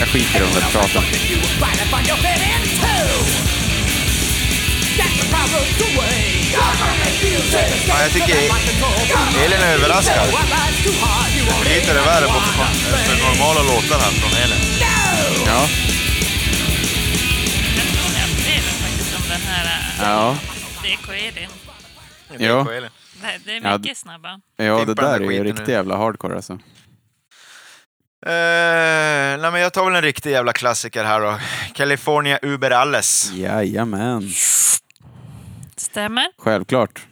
Speaker 2: jag skiter i de där praten.
Speaker 6: You fight up on your head in two That's the problem, the way Government uses
Speaker 1: Ja, jag tycker Elin är överraskad. Det blir lite värre på för, för normala låtar här från Elin.
Speaker 2: Ja.
Speaker 3: Den håller jag med faktiskt om den här eh,
Speaker 2: Ja.
Speaker 3: DKE-din.
Speaker 2: Ja.
Speaker 1: På Elin.
Speaker 3: Det, det
Speaker 2: Ja,
Speaker 3: är mycket snabba.
Speaker 2: Ja, det
Speaker 1: Pimpa den
Speaker 2: där är
Speaker 1: där
Speaker 2: ju
Speaker 1: skiten nu.
Speaker 2: riktigt jävla hardcore alltså.
Speaker 1: Eh, nej men jag tar väl en riktig jävla klassiker här då. California Uber Alles.
Speaker 2: Jajamän.
Speaker 3: Stämmer.
Speaker 2: Självklart.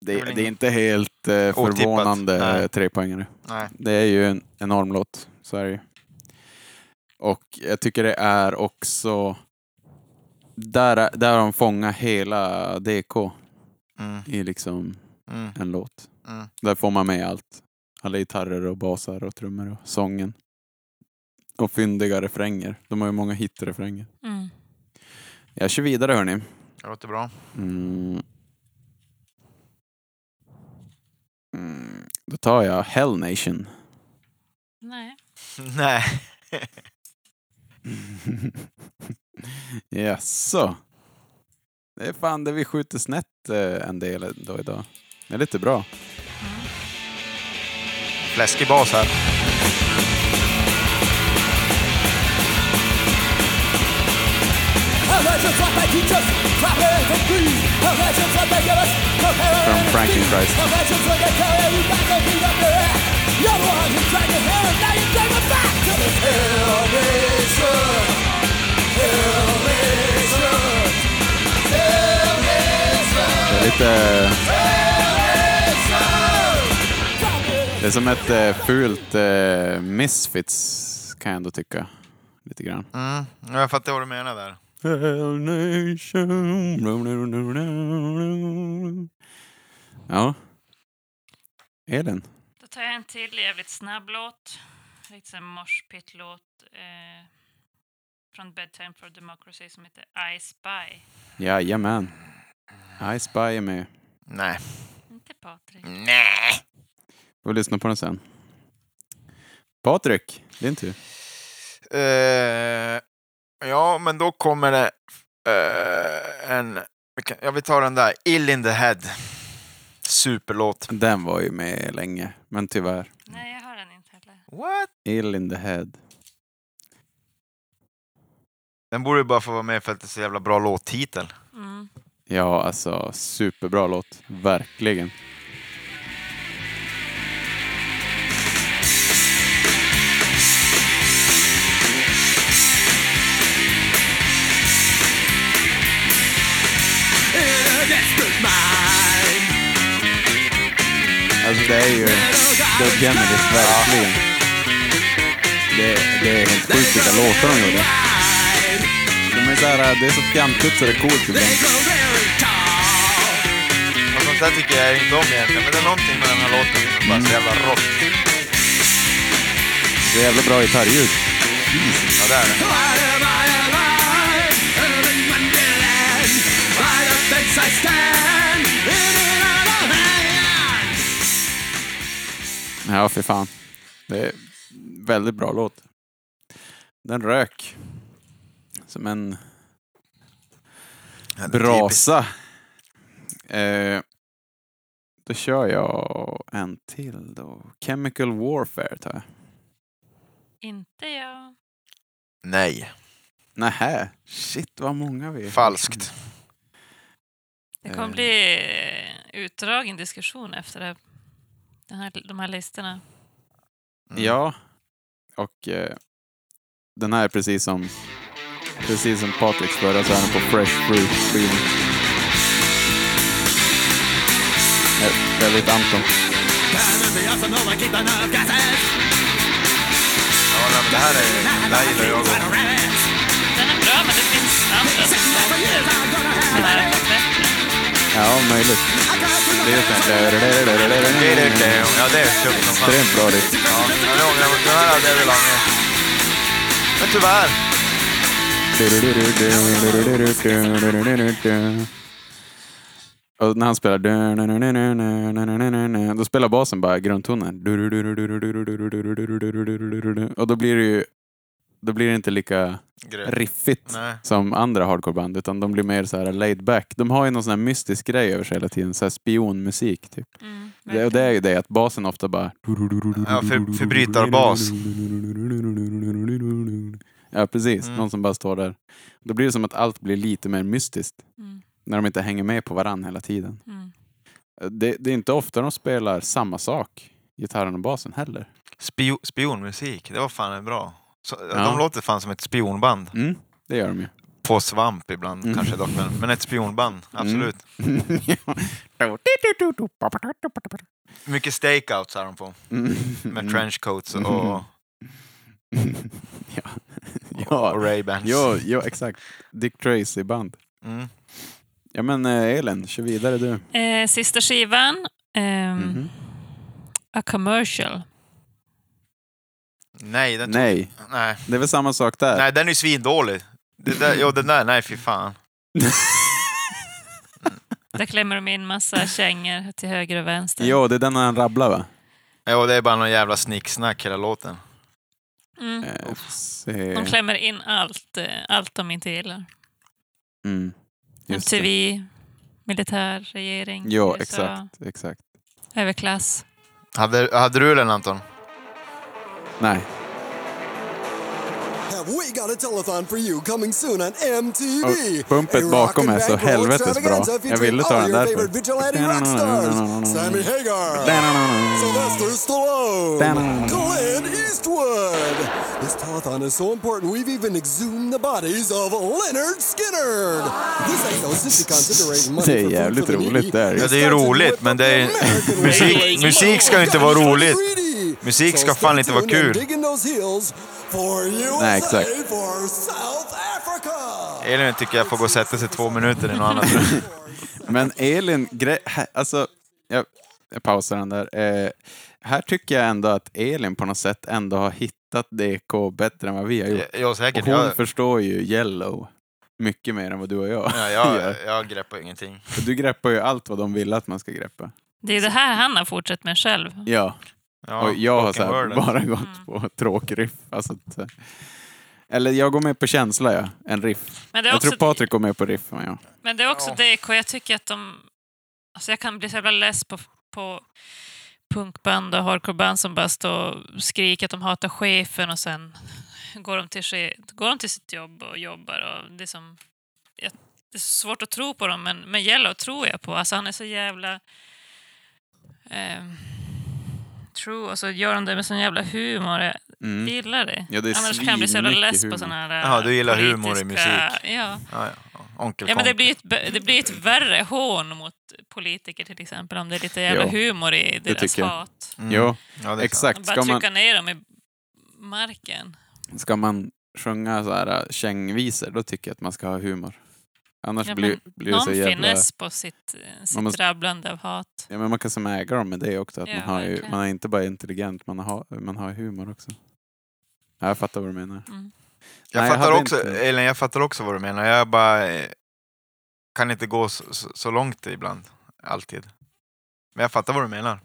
Speaker 1: Det är
Speaker 2: Det,
Speaker 1: väl
Speaker 2: det är
Speaker 1: ingen-
Speaker 2: inte helt eh,
Speaker 1: Otippat.
Speaker 2: förvånande eh,
Speaker 1: Nej.
Speaker 2: trepoängare.
Speaker 1: Nej.
Speaker 2: Det är ju en enorm låt, så är det ju. Och jag tycker det är också... Där, är- där har de fångat hela DK
Speaker 1: Mm,
Speaker 2: i liksom
Speaker 1: mm,
Speaker 2: en låt.
Speaker 1: mm.
Speaker 2: Där får man med allt. Alla gitarrer och basar och trummor och sången. Och fyndiga refränger. De har ju många hitrefränger.
Speaker 3: Mm.
Speaker 2: Jag kör vidare hörni.
Speaker 1: Det låter bra.
Speaker 2: Mm. Mm. Då tar jag Hell Nation.
Speaker 3: Nej.
Speaker 1: Nej.
Speaker 2: Jaså? Det är fan det vi skjuter snett eh, en del då idag. Det är lite bra.
Speaker 1: Fläskig bas här.
Speaker 2: From Frankenchrist. Det är lite... Det är som ett eh, fult eh, Misfits kan jag ändå tycka. Lite grann.
Speaker 1: Mm, jag fattar vad du menar där.
Speaker 2: Hell Nation. Ja. Elin.
Speaker 3: Då tar jag en till jävligt snabb låt. Lite sån morspitt-låt. Eh, från Bedtime for Democracy som heter I Spy.
Speaker 2: Jajamän. I Spy är med.
Speaker 1: Nej.
Speaker 3: Inte Patrik.
Speaker 2: Mm.
Speaker 1: Nej.
Speaker 2: Får lyssna på den sen. Patrik, din tur.
Speaker 1: Eh, ja, men då kommer det eh, en... vi kan- Ja, vi tar den där. Ill in the head. Superlåt.
Speaker 2: Den var ju med länge, men tyvärr.
Speaker 3: Nej, jag har den inte heller.
Speaker 1: What?
Speaker 2: Ill in the head.
Speaker 1: Den borde ju bara få vara med för att det är så jävla bra låttitel.
Speaker 3: Mm.
Speaker 2: Ja, alltså superbra låt. Verkligen. Alltså det är ju Dub Generis, verkligen. Det, det är helt sjukt vilka låtar de gjorde. De är så här, det är så fjantigt så det är coolt typ. ibland.
Speaker 1: Och sånt där tycker jag inte om egentligen, men det är någonting med den här låten som bara är så jävla rått.
Speaker 2: Så jävla bra gitarrljud.
Speaker 1: Ja, det är det.
Speaker 2: Ja, för fan. Det är väldigt bra låt. Den rök. Som en
Speaker 1: Ja, det är typiskt.
Speaker 2: brasa. Eh, då kör jag en till då. Chemical Warfare tar jag.
Speaker 3: Inte jag.
Speaker 1: Nej.
Speaker 2: Nähä. Shit vad många vi är.
Speaker 1: Falskt.
Speaker 3: Det kommer
Speaker 2: Eh.
Speaker 3: bli eh, utdragen diskussion efter det. Den här, de här listorna.
Speaker 1: Mm.
Speaker 2: Ja. Och eh, den här är precis som precis som Patriks förra så är den på Fresh Fruit skivan. Eh, Väldigt Anton.
Speaker 1: Ja, nej, men det här är... Det här gillar jag. också.
Speaker 3: Den är bra, men det finns andra som är bättre.
Speaker 2: Ja, möjligt. Det är
Speaker 1: Det är det, det
Speaker 2: ett
Speaker 1: är- Ja, det är tufft som fan.
Speaker 2: extremt bra riff.
Speaker 1: Ja, men det ångrar jag mig. Det här hade jag velat ha med. Men tyvärr.
Speaker 2: Och när han spelar... Då spelar basen bara grundtoner. Och då blir det ju... Då blir det inte lika
Speaker 1: Grymt.
Speaker 2: riffigt
Speaker 1: Nej.
Speaker 2: som andra hardcoreband, utan de blir mer så här laid back. De har ju någon sån här mystisk grej över sig hela tiden, så här spionmusik typ.
Speaker 3: Mm,
Speaker 2: Det, och det är ju det att basen ofta bara...
Speaker 1: Ja, för, förbrytarbas.
Speaker 2: Ja, precis.
Speaker 1: Mm.
Speaker 2: Någon som bara står där. Då blir det som att allt blir lite mer mystiskt
Speaker 3: Mm,
Speaker 2: när de inte hänger med på varann hela tiden.
Speaker 3: mm.
Speaker 2: Det, det är inte ofta de spelar samma sak, gitarren och basen heller.
Speaker 1: Spio, spionmusik, det var fan bra. Så,
Speaker 2: Ja.
Speaker 1: De låter fan som ett spionband.
Speaker 2: Mm, det gör de ju.
Speaker 1: På svamp ibland
Speaker 2: Mm.
Speaker 1: kanske dock, men, men ett spionband, absolut. Mycket stakeouts har de på, med
Speaker 2: Mm.
Speaker 1: trenchcoats och,
Speaker 2: Mm. ja.
Speaker 1: och,
Speaker 2: ja.
Speaker 1: och Ray-Bans.
Speaker 2: Jo, jo, exakt. Dick Tracy-band.
Speaker 1: Mm.
Speaker 2: Ja men eh, Elin, kör vidare du.
Speaker 3: Eh, sista skivan. ehm,
Speaker 2: Mhm.
Speaker 3: A Commercial.
Speaker 1: Nej, den nej.
Speaker 2: Nej,
Speaker 1: Nej.
Speaker 2: det är väl samma sak där?
Speaker 1: nej, den är ju svindålig. Det där, jo, den där, nej fy fan.
Speaker 3: Där klämmer de in massa kängor till höger och vänster.
Speaker 2: Jo, det är den han rabblar va?
Speaker 1: Jo, det är bara någon jävla snicksnack hela låten.
Speaker 3: Mm.
Speaker 2: Eh, se...
Speaker 3: De klämmer in allt, eh, allt de inte gillar.
Speaker 2: mm. Just det.
Speaker 3: MTV, militär, regering,
Speaker 2: Ja,
Speaker 3: USA,
Speaker 2: exakt, exakt.
Speaker 3: överklass.
Speaker 1: Hade, hade du den Anton?
Speaker 2: Nej,
Speaker 6: Have we got a telethon for you coming soon on MTV?
Speaker 2: Och bumpet
Speaker 6: A
Speaker 2: bakom
Speaker 6: rock
Speaker 2: är
Speaker 6: and
Speaker 2: så
Speaker 6: rock roll
Speaker 2: helvetes bra.
Speaker 6: extravaganza
Speaker 2: Jag
Speaker 6: featuring
Speaker 2: ville ta
Speaker 6: all
Speaker 2: den
Speaker 6: your
Speaker 2: därför.
Speaker 6: favorite vigilante rock stars. Sammy Hagar. Sylvester Stallone. Glenn Eastwood. This telethon is so important we've even exhumed the bodies of Leonard Skinner. This exorcist is considering money
Speaker 2: Det är
Speaker 6: for food
Speaker 2: jävligt
Speaker 6: for the
Speaker 2: roligt
Speaker 6: needy.
Speaker 2: det här.
Speaker 1: Ja, det är ju roligt, men det är-
Speaker 6: American
Speaker 1: musik-
Speaker 6: way.
Speaker 1: musik ska ju inte vara roligt. Musik
Speaker 6: So
Speaker 1: ska fan
Speaker 6: stay
Speaker 1: inte vara
Speaker 6: tuned and
Speaker 1: kul.
Speaker 6: dig in those heels for USA,
Speaker 2: Nej, exakt.
Speaker 6: for South Africa.
Speaker 1: Elin tycker jag får gå och sätta sig två minuter i något annat rum.
Speaker 2: Men Elin, gre- här- alltså, jag, jag pausar den där. Eh, här tycker jag ändå att Elin på något sätt ändå har hittat DK bättre än vad vi har gjort.
Speaker 1: Ja,
Speaker 2: Och
Speaker 1: säkert.
Speaker 2: hon
Speaker 1: Jag,
Speaker 2: förstår ju Yellow mycket mer än vad du och jag
Speaker 1: ja,
Speaker 2: gör.
Speaker 1: jag, jag greppar ingenting.
Speaker 2: För Du greppar ju allt vad de ville att man ska greppa.
Speaker 3: Det är det här han har fortsatt med själv.
Speaker 2: Ja,
Speaker 1: Ja,
Speaker 2: och jag har
Speaker 1: fucking
Speaker 2: så här
Speaker 1: world.
Speaker 2: bara
Speaker 3: Mm.
Speaker 2: gått på tråkriff. Alltså, att, eh, eller jag går med på känsla, ja, än riff.
Speaker 3: Men det är
Speaker 2: Jag tror
Speaker 3: också,
Speaker 2: Patrik går med på riff, Mm. men jag.
Speaker 3: men det är också DK. Jag tycker att de... Alltså jag kan bli så jävla less på, på punkband och hardcoreband som bara står och skriker att de hatar chefen och sen går de till, che- går de till sitt jobb och jobbar. Och det, är som, jag, det är svårt att tro på dem, men, men Yellow tror jag på. Alltså han är så jävla... ehm, true, och så gör de det med sån jävla humor. Jag
Speaker 2: Mm.
Speaker 3: gillar det.
Speaker 2: Ja, det är
Speaker 3: Annars kan jag bli så jävla
Speaker 2: svinmycket
Speaker 3: less
Speaker 2: humor.
Speaker 3: på såna här
Speaker 1: Ja, du gillar humor i
Speaker 3: politiska-
Speaker 1: musik.
Speaker 3: Ja.
Speaker 1: Ja, ja. Onkel
Speaker 3: Ja, men det
Speaker 1: Konk.
Speaker 3: blir, ett, bö- det blir ett värre hån mot politiker till exempel om det är lite jävla
Speaker 2: Jo,
Speaker 3: humor i deras
Speaker 2: tycker jag.
Speaker 3: hat.
Speaker 1: Mm.
Speaker 2: Jo,
Speaker 1: Ja, det är sant.
Speaker 2: exakt.
Speaker 3: Man
Speaker 2: Ska
Speaker 3: bara
Speaker 2: man,
Speaker 3: trycka ner dem i marken.
Speaker 2: ska man sjunga så här äh, kängvisor, då tycker jag att man ska ha humor. Annars
Speaker 3: Ja,
Speaker 2: blir,
Speaker 3: men
Speaker 2: blir det
Speaker 3: Någon
Speaker 2: så jävla...
Speaker 3: finnes på sitt, eh, sitt
Speaker 2: Man måste-
Speaker 3: rabblande av hat.
Speaker 2: Ja, men man kan som äga dem med det också. Att
Speaker 3: Ja,
Speaker 2: man, har ju,
Speaker 3: verkligen.
Speaker 2: man är inte bara intelligent, man har, man har humor också. Ja, jag fattar vad du menar.
Speaker 3: Mm.
Speaker 1: Jag
Speaker 2: Nej, jag
Speaker 1: fattar
Speaker 2: hade
Speaker 1: också,
Speaker 2: inte-
Speaker 1: Elin, jag fattar också vad du menar. Jag bara eh, kan inte gå så, så- så långt ibland, alltid. Men jag fattar vad du menar. Eh,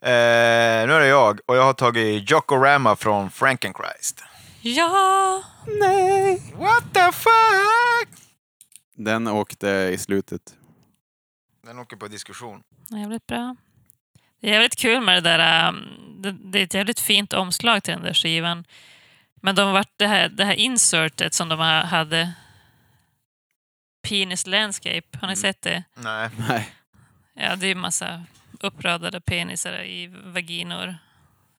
Speaker 1: nu är det jag och jag har tagit Jokorama från Frankenchrist.
Speaker 3: Ja!
Speaker 2: Nej!
Speaker 1: What the fuck!
Speaker 2: Den åkte i slutet.
Speaker 1: Den åker på diskussion.
Speaker 3: Jävligt bra. Det är jävligt kul med det där. um, Det, det är ett jävligt fint omslag till den där skivan. Men de vart det, här, det här insertet som de ha- hade. Penis Landscape, har ni
Speaker 2: Mm.
Speaker 3: sett det?
Speaker 1: Nej.
Speaker 2: Nej.
Speaker 3: Ja, det är ju massa uppradade penisar i vaginor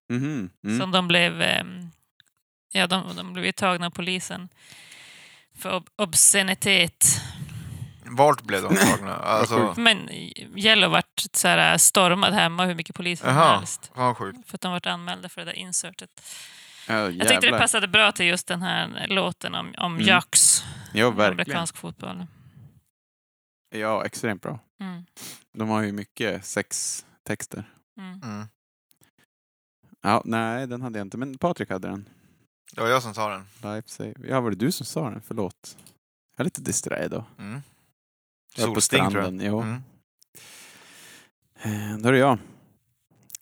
Speaker 2: Mhm. Mm.
Speaker 3: som de blev, ehm, ja, de, de blev ju tagna av polisen för ob- obscenitet.
Speaker 1: Vart blev de tagna? Alltså,
Speaker 3: Men Yellow vart så här äh, stormad hemma hur mycket poliser som
Speaker 1: Jaha.
Speaker 3: helst.
Speaker 1: fan vad sjukt.
Speaker 3: För att de vart anmälda för det där insertet.
Speaker 2: Ja,
Speaker 3: Jag tyckte det
Speaker 2: jävlar.
Speaker 3: passade bra till just den här låten om, om
Speaker 2: Mm.
Speaker 3: Jux.
Speaker 2: Ja, verkligen.
Speaker 3: Amerikansk fotboll.
Speaker 2: Ja, extremt bra.
Speaker 3: Mm.
Speaker 2: De har ju mycket sextexter.
Speaker 3: Mm.
Speaker 1: Mm.
Speaker 2: Ja, nej, den hade jag inte, men Patrik hade den.
Speaker 1: Det var jag som sa den.
Speaker 2: Lifesave. Ja, var det du som sa den? Förlåt. Jag är lite distraherad då.
Speaker 1: Mm.
Speaker 2: Jag är på
Speaker 1: Solsting tror jag.
Speaker 2: stranden. Jo.
Speaker 1: Mm.
Speaker 2: Eh, Då är det jag.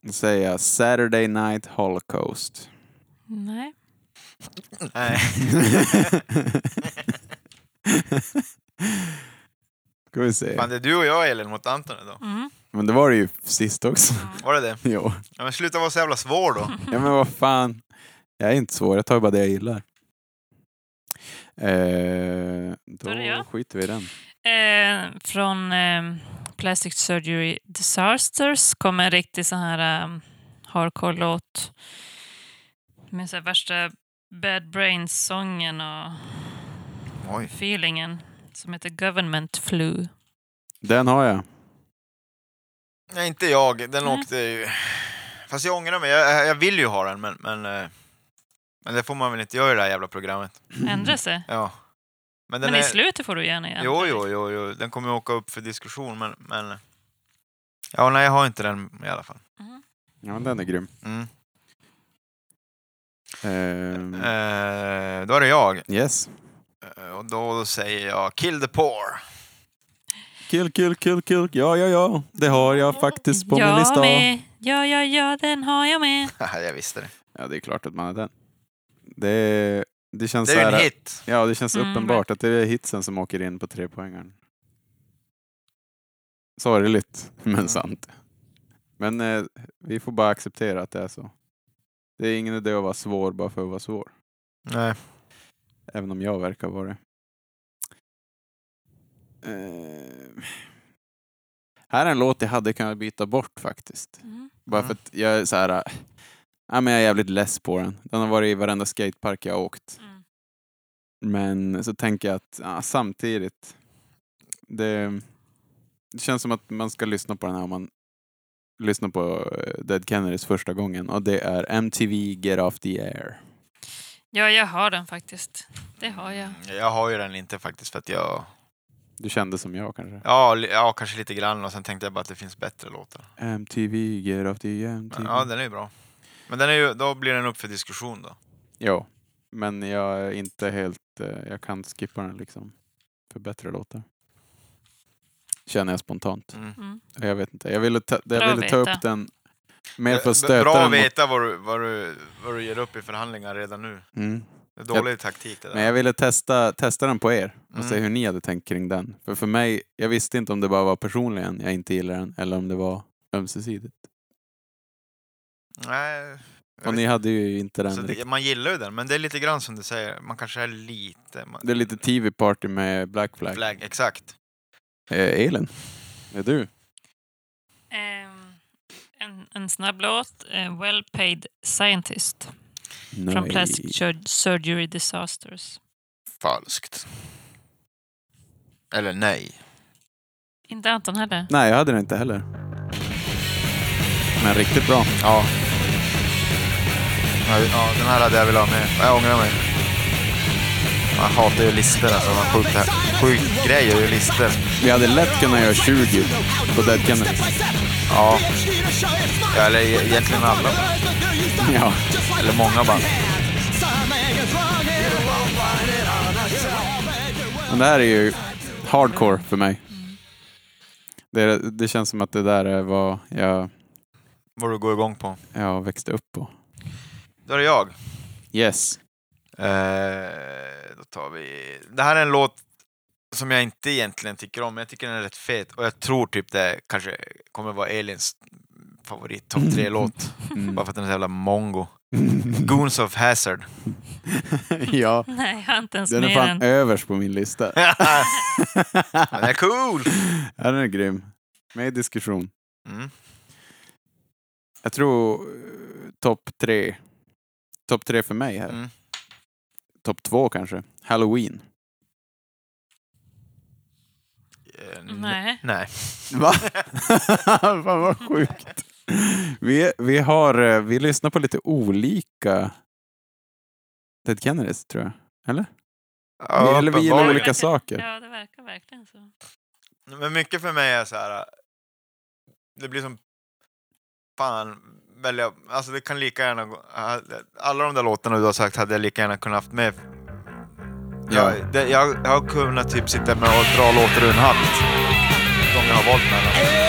Speaker 2: Då säger jag Saturday Night Holocaust.
Speaker 3: Nej.
Speaker 1: Nej.
Speaker 2: Ska vi
Speaker 1: Fan,
Speaker 2: se.
Speaker 1: det är du och jag Elin mot Anton idag.
Speaker 3: Mm.
Speaker 2: Men det var det ju sist också.
Speaker 1: Var det det?
Speaker 2: Jo.
Speaker 1: Ja, men sluta vara så jävla svår då.
Speaker 2: Ja men vad fan. Jag är inte svår, jag tar bara det jag gillar. Eh, då
Speaker 3: Då är det jag.
Speaker 2: skiter vi i den.
Speaker 3: Eh, från eh, Plastic Surgery Disasters kom en riktig sån här eh, hardcore-låt med så här värsta Bad Brains-sången och
Speaker 1: Oj. Mm.
Speaker 3: feelingen som heter Government Flu.
Speaker 2: Den har jag.
Speaker 1: Nej, inte jag. Den
Speaker 3: Nej.
Speaker 1: åkte ju... Fast jag ångrar mig. Jag, jag vill ju ha den, men, men... eh, Men det får man väl inte göra i det här jävla programmet.
Speaker 3: Ändra sig.
Speaker 1: Ja. Men den
Speaker 3: Men
Speaker 1: är...
Speaker 3: i slutet får du gärna ändra
Speaker 1: Jo,
Speaker 3: dig.
Speaker 1: jo, jo, jo. Den kommer ju åka upp för diskussion, men... men... Ja, nej, jag har inte den i alla fall.
Speaker 3: Mhm.
Speaker 2: Ja men den är grym.
Speaker 1: Mm.
Speaker 2: Eh,
Speaker 1: Eh, då är det jag.
Speaker 2: yes.
Speaker 1: Eh, och då säger jag Kill the poor.
Speaker 2: Kill, kill, kill, kill. Ja, ja, ja. Det har jag faktiskt på min
Speaker 3: Ja,
Speaker 2: lista.
Speaker 3: med. Ja, ja, ja, den har jag med.
Speaker 1: Haha, jag visste det.
Speaker 2: Ja, det är klart att man har den. Det, det känns
Speaker 1: Det är ju
Speaker 2: så
Speaker 1: en
Speaker 2: här-
Speaker 1: hit.
Speaker 2: Ja, det känns
Speaker 3: Mm,
Speaker 2: uppenbart att det är hitsen som åker in på trepoängaren. Sorgligt, men sant. Men eh, vi får bara acceptera att det är så. Det är ingen idé att vara svår bara för att vara svår.
Speaker 1: Nej.
Speaker 2: Även om jag verkar vara det. Eh, här är en låt jag hade kunnat byta bort faktiskt.
Speaker 3: Mm.
Speaker 2: Bara
Speaker 1: Mm.
Speaker 2: för att jag är så här... äh, Ja, men jag är jävligt less på den. Den har varit i varenda skatepark jag har åkt.
Speaker 3: Mm.
Speaker 2: Men så tänker jag att ja, samtidigt... Det, det känns som att man ska lyssna på den här om man lyssnar på eh, Dead Kennedys första gången. Och det är MTV Get Off The Air.
Speaker 3: Ja, jag har den faktiskt. Det har jag.
Speaker 1: Jag har ju den inte faktiskt för att jag...
Speaker 2: Du kände som jag kanske?
Speaker 1: Ja, li- ja, kanske lite grann och sen tänkte jag bara att det finns bättre låtar.
Speaker 2: MTV Get Off The Air.
Speaker 1: Men,
Speaker 2: MTV.
Speaker 1: ja, den är ju bra. Men den är ju, då blir den upp för diskussion då.
Speaker 2: Jo, men jag är inte helt... eh, Jag kan skippa den liksom. För bättre låtar. Känner jag spontant.
Speaker 1: Mm.
Speaker 3: Mm.
Speaker 2: Jag vet inte. Jag ville ta, jag
Speaker 3: Bra
Speaker 2: ville ta
Speaker 3: veta.
Speaker 2: upp den mer för
Speaker 1: Eh, B-
Speaker 2: att stöta
Speaker 1: Bra att
Speaker 2: den mot...
Speaker 1: veta vad du, vad, du, vad du ger upp i förhandlingar redan nu.
Speaker 2: Mm.
Speaker 1: Det är dålig taktik det där.
Speaker 2: Men jag ville testa, testa den på er och se
Speaker 1: Mm.
Speaker 2: hur ni hade tänkt kring den. För för mig, jag visste inte om det bara var personligen jag inte gillade den eller om det var ömsesidigt.
Speaker 1: Nej, jag
Speaker 2: Och ni
Speaker 1: vet-
Speaker 2: hade ju inte den
Speaker 1: så det,
Speaker 2: riktigt.
Speaker 1: man gillar ju den, men det är lite grann som du säger, man kanske är lite... Man,
Speaker 2: Det är lite TV party med Black Flag.
Speaker 1: flag, exakt.
Speaker 2: Eh, Elin, är du?
Speaker 3: Ehm, en, en snabb låt. Eh, well paid scientist.
Speaker 2: Nej.
Speaker 3: Från Plastic Sur- Surgery Disasters.
Speaker 1: Falskt. Eller nej.
Speaker 3: Inte Anton heller.
Speaker 2: Nej, jag hade den inte heller. Men riktigt bra.
Speaker 1: Ja. Ja, ja, den här hade jag velat ha med. Jag ångrar mig. Man hatar ju listor alltså. Man sjukt, det här- sjukt grej är ju listor.
Speaker 2: Vi hade lätt kunnat göra 20 på Dead Kennedys.
Speaker 1: Ja. ja. Eller e- egentligen alla.
Speaker 2: Ja.
Speaker 1: Eller många band.
Speaker 2: Men det här är ju hardcore för mig. Det, det känns som att det där är vad jag,
Speaker 1: Vad du går igång på.
Speaker 2: jag växte upp på.
Speaker 1: Då är det jag.
Speaker 2: Yes.
Speaker 1: Eh, då tar vi... Det här är en låt som jag inte egentligen tycker om, men jag tycker den är rätt fet. Och jag tror typ det kanske kommer vara Elins favorit topp tre-låt.
Speaker 2: Mm.
Speaker 1: Bara för att den är så jävla mongo. Goons of Hazard.
Speaker 2: ja,
Speaker 3: Nej, jag har inte ens
Speaker 2: den är
Speaker 3: med den.
Speaker 2: fan överst på min lista.
Speaker 1: den är cool!
Speaker 2: Ja, den är grym. Med i diskussion.
Speaker 1: Mm.
Speaker 2: Jag tror eh, topp tre. Topp tre för mig här.
Speaker 1: Mm.
Speaker 2: Topp två kanske. Halloween.
Speaker 1: Eh, n-
Speaker 3: Nej.
Speaker 1: Nej.
Speaker 2: Va? Fan vad sjukt. Vi, vi, har, eh, vi lyssnar på lite olika Ted Kennedys tror jag. Eller?
Speaker 1: Ja,
Speaker 2: Eller vi gillar
Speaker 1: uppenbarligen.
Speaker 2: olika saker.
Speaker 3: Ja, det verkar verkligen så.
Speaker 1: Men mycket för mig är så här. Det blir som... Fan, välja... Alltså det kan lika gärna... gå- Alla de där låtarna du har sagt hade jag lika gärna kunnat haft med.
Speaker 2: Ja.
Speaker 1: Jag, det, jag, jag har kunnat typ sitta med och dra låtar ur en hatt. De jag har valt mellan.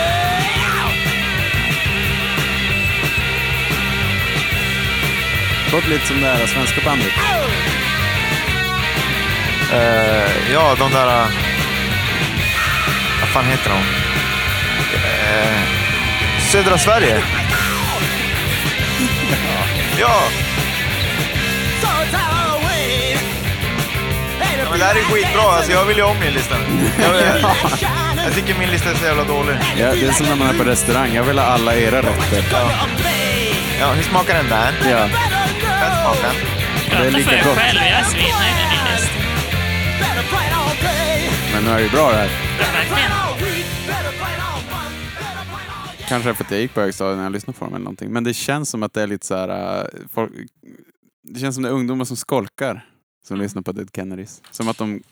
Speaker 2: Låter lite som det här svenska bandet.
Speaker 1: Eh, ja, de där... eh, Vad fan heter de? Eh, södra Sverige. ja. ja, men det här är skitbra. Alltså, jag vill ju om min lista. Jag, jag tycker min lista är så jävla dålig.
Speaker 2: Ja, det är som när man är på restaurang. Jag vill ha alla era rätter.
Speaker 1: Ja, hur smakar den där?
Speaker 2: Ja.
Speaker 1: Den smakar.
Speaker 3: Prata
Speaker 2: lika
Speaker 3: för dig
Speaker 2: gott.
Speaker 3: själv, jag svinar ju när ni läste.
Speaker 2: Men nu är det ju bra det här.
Speaker 3: Verkligen.
Speaker 2: Kanske för att jag gick på högstadiet när jag lyssnade på dem eller någonting. Men det känns som att det är lite så här... äh, Folk, det känns som det är ungdomar som skolkar
Speaker 3: Mm.
Speaker 2: som lyssnar på Dead Kennedys. Som att de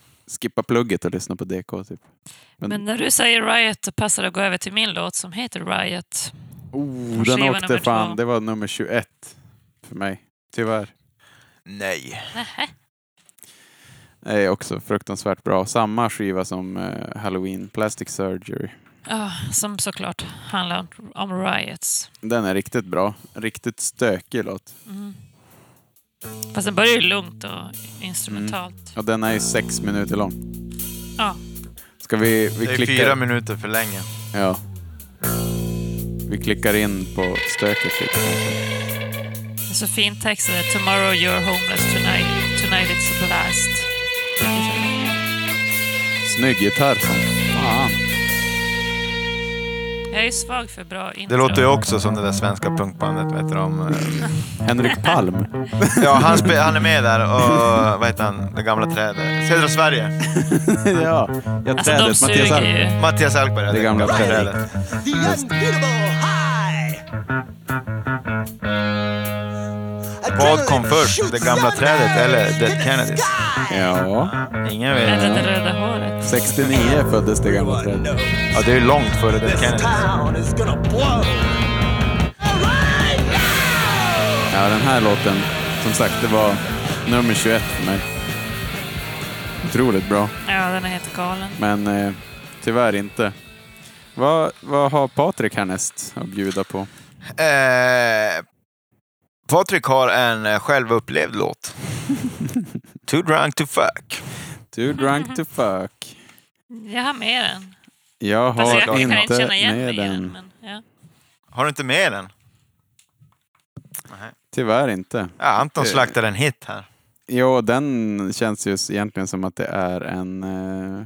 Speaker 2: skippar plugget och lyssnar på DK typ.
Speaker 3: Men när du säger Riot så passar det att gå över till min låt som heter Riot.
Speaker 2: Oh, den
Speaker 3: skiva
Speaker 2: åkte
Speaker 3: nummer
Speaker 2: fan.
Speaker 3: två.
Speaker 2: Det var nummer 21 för mig. Tyvärr.
Speaker 1: Nej.
Speaker 3: Nähä.
Speaker 2: Det är också fruktansvärt bra. Samma skiva som eh, Halloween, Plastic Surgery.
Speaker 3: Ja, som såklart handlar om- om riots.
Speaker 2: Den är riktigt bra. Riktigt stökig låt.
Speaker 3: Mm. Fast den börjar ju lugnt och instrumentalt.
Speaker 2: Och den är ju sex minuter lång. Mm.
Speaker 3: Ja,
Speaker 2: Ska vi... vi
Speaker 1: Det är
Speaker 2: klickar-
Speaker 1: fyra minuter för länge.
Speaker 2: Ja. Vi klickar in på stöket lite kanske.
Speaker 3: det är så fin text. där. Tomorrow you're homeless, tonight, tonight it's a blast.
Speaker 2: Snygg gitarr som fan.
Speaker 3: Jag är ju svag för bra intro.
Speaker 1: Det låter ju också som det där svenska punkbandet, vet du om? eh,
Speaker 2: Henrik Palm.
Speaker 1: Ja, han, spe- han är med där och vad heter han, det gamla trädet? Södra Sverige.
Speaker 2: ja. Jag
Speaker 3: Alltså de
Speaker 2: trädet, Mattias
Speaker 3: suger
Speaker 2: Alm.
Speaker 3: ju.
Speaker 1: Mattias Alkberg.
Speaker 2: Det gamla trädet.
Speaker 6: The unbeatable high.
Speaker 1: Vad kom först, det gamla trädet eller Dead
Speaker 6: Adrenaline
Speaker 1: Kennedys?
Speaker 2: Ja.
Speaker 1: Ingen
Speaker 3: Eller
Speaker 1: vet.
Speaker 3: det röda håret.
Speaker 2: 69 föddes det gamla trädet.
Speaker 1: Ja, det är ju långt före Dead
Speaker 6: This
Speaker 1: Kennedys.
Speaker 6: town is gonna blow. Alright now!
Speaker 2: Ja, den här låten. Som sagt, det var nummer 21 för mig. Otroligt bra,
Speaker 3: Ja, den är helt galen.
Speaker 2: men eh, tyvärr inte. Vad, vad har Patrik härnäst att bjuda på?
Speaker 1: Eh, Patrik har en eh, självupplevd låt. Too drunk to fuck.
Speaker 2: Too drunk to fuck.
Speaker 3: Jag har med den.
Speaker 2: Jag har
Speaker 3: Fast Alltså, jag kan
Speaker 2: inte
Speaker 3: inte känna igen
Speaker 2: med
Speaker 3: mig
Speaker 2: den.
Speaker 3: igen. Men, ja.
Speaker 1: Har du inte med den?
Speaker 2: Tyvärr inte.
Speaker 1: Ja, Anton slaktar en hit här.
Speaker 2: Jo, den känns ju egentligen som att det är en eh,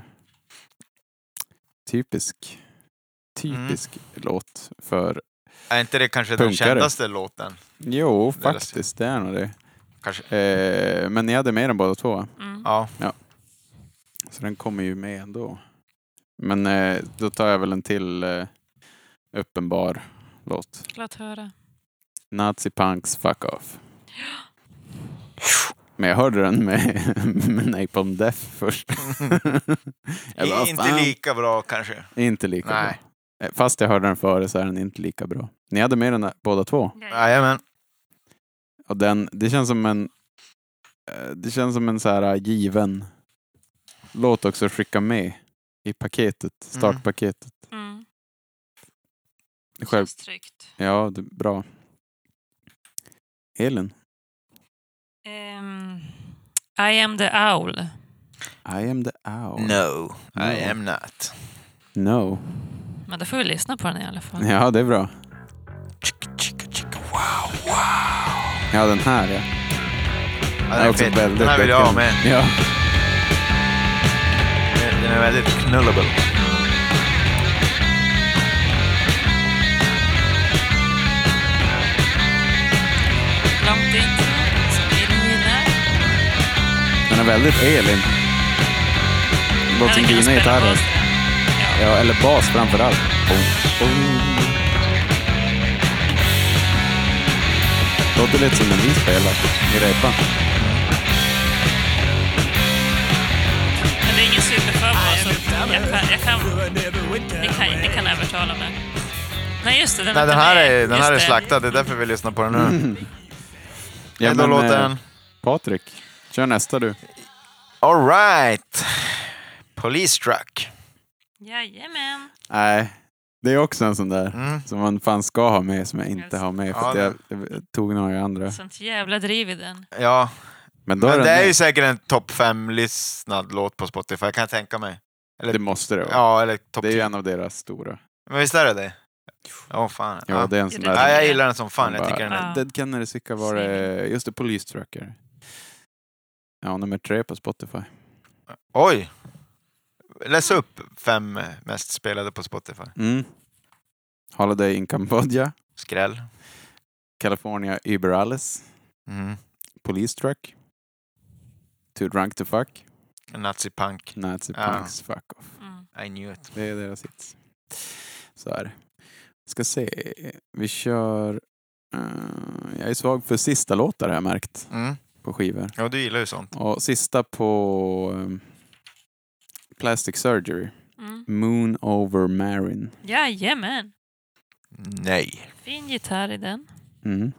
Speaker 2: typisk, typisk
Speaker 1: Mm.
Speaker 2: låt för...
Speaker 1: Är inte det kanske den
Speaker 2: Punkare.
Speaker 1: kändaste låten?
Speaker 2: Jo,
Speaker 1: Det är
Speaker 2: faktiskt, det är nog det.
Speaker 1: Kanske.
Speaker 2: Eh, men ni hade med den båda två, va?
Speaker 3: Mm.
Speaker 1: Ja.
Speaker 2: så den kommer ju med ändå. Men eh, då tar jag väl en till eh, uppenbar låt.
Speaker 3: Låt höra.
Speaker 2: Nazi Punks Fuck Off. Men jag hörde den med, med Napalm Death först. Jag bara,
Speaker 1: Mm. Inte
Speaker 2: "Fan."
Speaker 1: lika bra kanske.
Speaker 2: Inte lika
Speaker 1: Nej.
Speaker 2: bra. Eh, Fast jag hörde den före så är den inte lika bra. Ni hade med den där, båda två.
Speaker 1: Jajamän.
Speaker 2: Och den, det känns som en eh, det känns som en så här eh, given låt också att skicka med i paketet, startpaketet.
Speaker 3: Mm.
Speaker 2: Själv,
Speaker 3: Känns tryggt.
Speaker 2: ja, det, bra. Elin,
Speaker 3: Ehm, I am the owl.
Speaker 2: I am the owl.
Speaker 1: No, I
Speaker 2: No.
Speaker 1: am not.
Speaker 2: No.
Speaker 3: Men då får vi lyssna på den i alla fall.
Speaker 2: Ja, det är bra. Ja, den här ja. Den
Speaker 1: Ja, den,
Speaker 2: är
Speaker 1: är
Speaker 2: också
Speaker 1: fet.
Speaker 2: väldigt
Speaker 1: den här vill jag ha
Speaker 2: väldigt-
Speaker 1: med.
Speaker 2: Ja.
Speaker 1: Den den är väldigt knullable.
Speaker 3: Långt intro, som Elin gillar.
Speaker 2: Den är väldigt Elin. Låter som
Speaker 3: Hade kunnat
Speaker 2: dina
Speaker 3: spela
Speaker 2: gitarrer.
Speaker 3: bas där. Ja.
Speaker 2: Ja, eller bas framför allt. Boom, boom. Låter lite som när vi spelar i repan.
Speaker 3: Men det är ingen superför så jag kan, jag kan, ni, kan, ni kan övertala mig. Nej, just det. Den,
Speaker 1: Nej, den här är, den
Speaker 3: just
Speaker 1: här är
Speaker 3: det.
Speaker 1: slaktad. Det är därför vi lyssnar på den nu.
Speaker 2: Mm. Ja,
Speaker 1: Ja, då
Speaker 2: men,
Speaker 1: låter
Speaker 2: eh,
Speaker 1: den.
Speaker 2: Patrik, kör nästa du.
Speaker 1: All right. Police truck.
Speaker 3: Jajamän.
Speaker 2: Nej, det är också en sån där
Speaker 1: Mm.
Speaker 2: som man fan ska ha med som jag inte
Speaker 3: Yes.
Speaker 2: har med. För att
Speaker 1: Ja,
Speaker 2: jag, jag tog några andra.
Speaker 3: Sånt jävla driv i den.
Speaker 1: Ja,
Speaker 2: Men, då
Speaker 1: men
Speaker 2: den
Speaker 1: det är
Speaker 2: med.
Speaker 1: ju säkert en topp fem lyssnad låt på Spotify kan jag tänka mig.
Speaker 2: det måste det vara.
Speaker 1: Ja, eller topp
Speaker 2: det är ju
Speaker 1: tio.
Speaker 2: en av deras stora.
Speaker 1: Men visst är det det? Åh fan.
Speaker 2: Ja,
Speaker 1: Ja.
Speaker 2: det är en sån
Speaker 3: Ja,
Speaker 2: där.
Speaker 3: det-
Speaker 1: Ja, jag gillar den som fan.
Speaker 2: som
Speaker 1: Jag
Speaker 2: bara,
Speaker 1: tycker den är...
Speaker 3: Ja.
Speaker 2: Dead Kennedy Sicka var det, just det, Police Tracker. Ja, nummer tre på Spotify.
Speaker 1: Oj! Läs upp fem eh, mest spelade på Spotify.
Speaker 2: Mm. Holiday in Cambodia,
Speaker 1: Skräll.
Speaker 2: California Uber Alice,
Speaker 1: Mm.
Speaker 2: Police Truck, Too Drunk to Fuck,
Speaker 1: Nazi-punk.
Speaker 2: Nazi
Speaker 1: Ja.
Speaker 2: Punks Fuck Off.
Speaker 3: Mm.
Speaker 1: I knew it.
Speaker 2: Det är deras hits. Så är det. Ska se, vi kör... eh, jag är svag för sista låtar har jag märkt
Speaker 1: Mm.
Speaker 2: på skivor.
Speaker 1: Ja, du gillar ju sånt.
Speaker 2: Och sista på eh, Plastic Surgery,
Speaker 3: Mm.
Speaker 2: Moon Over Marin.
Speaker 3: Jajamän.
Speaker 1: Nej.
Speaker 3: Fin gitarr i den.
Speaker 2: Mm.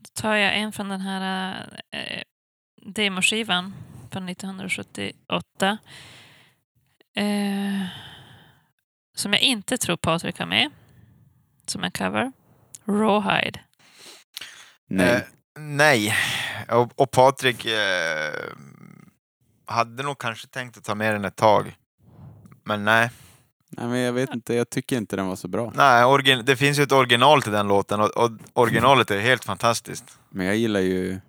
Speaker 3: Då tar jag en från den här eh, demoskivan från 1978. Eh, som jag inte tror Patrik har med. Som en cover. Rawhide.
Speaker 2: Nej.
Speaker 1: Eh, nej. Och, och Patrik eh, hade nog kanske tänkt att ta med den ett tag. Men nej.
Speaker 2: Nej, men jag vet inte. Jag tycker inte den var så bra.
Speaker 1: nej origin- det finns ju ett original till den låten och, och originalet är helt fantastiskt.
Speaker 2: Men jag gillar ju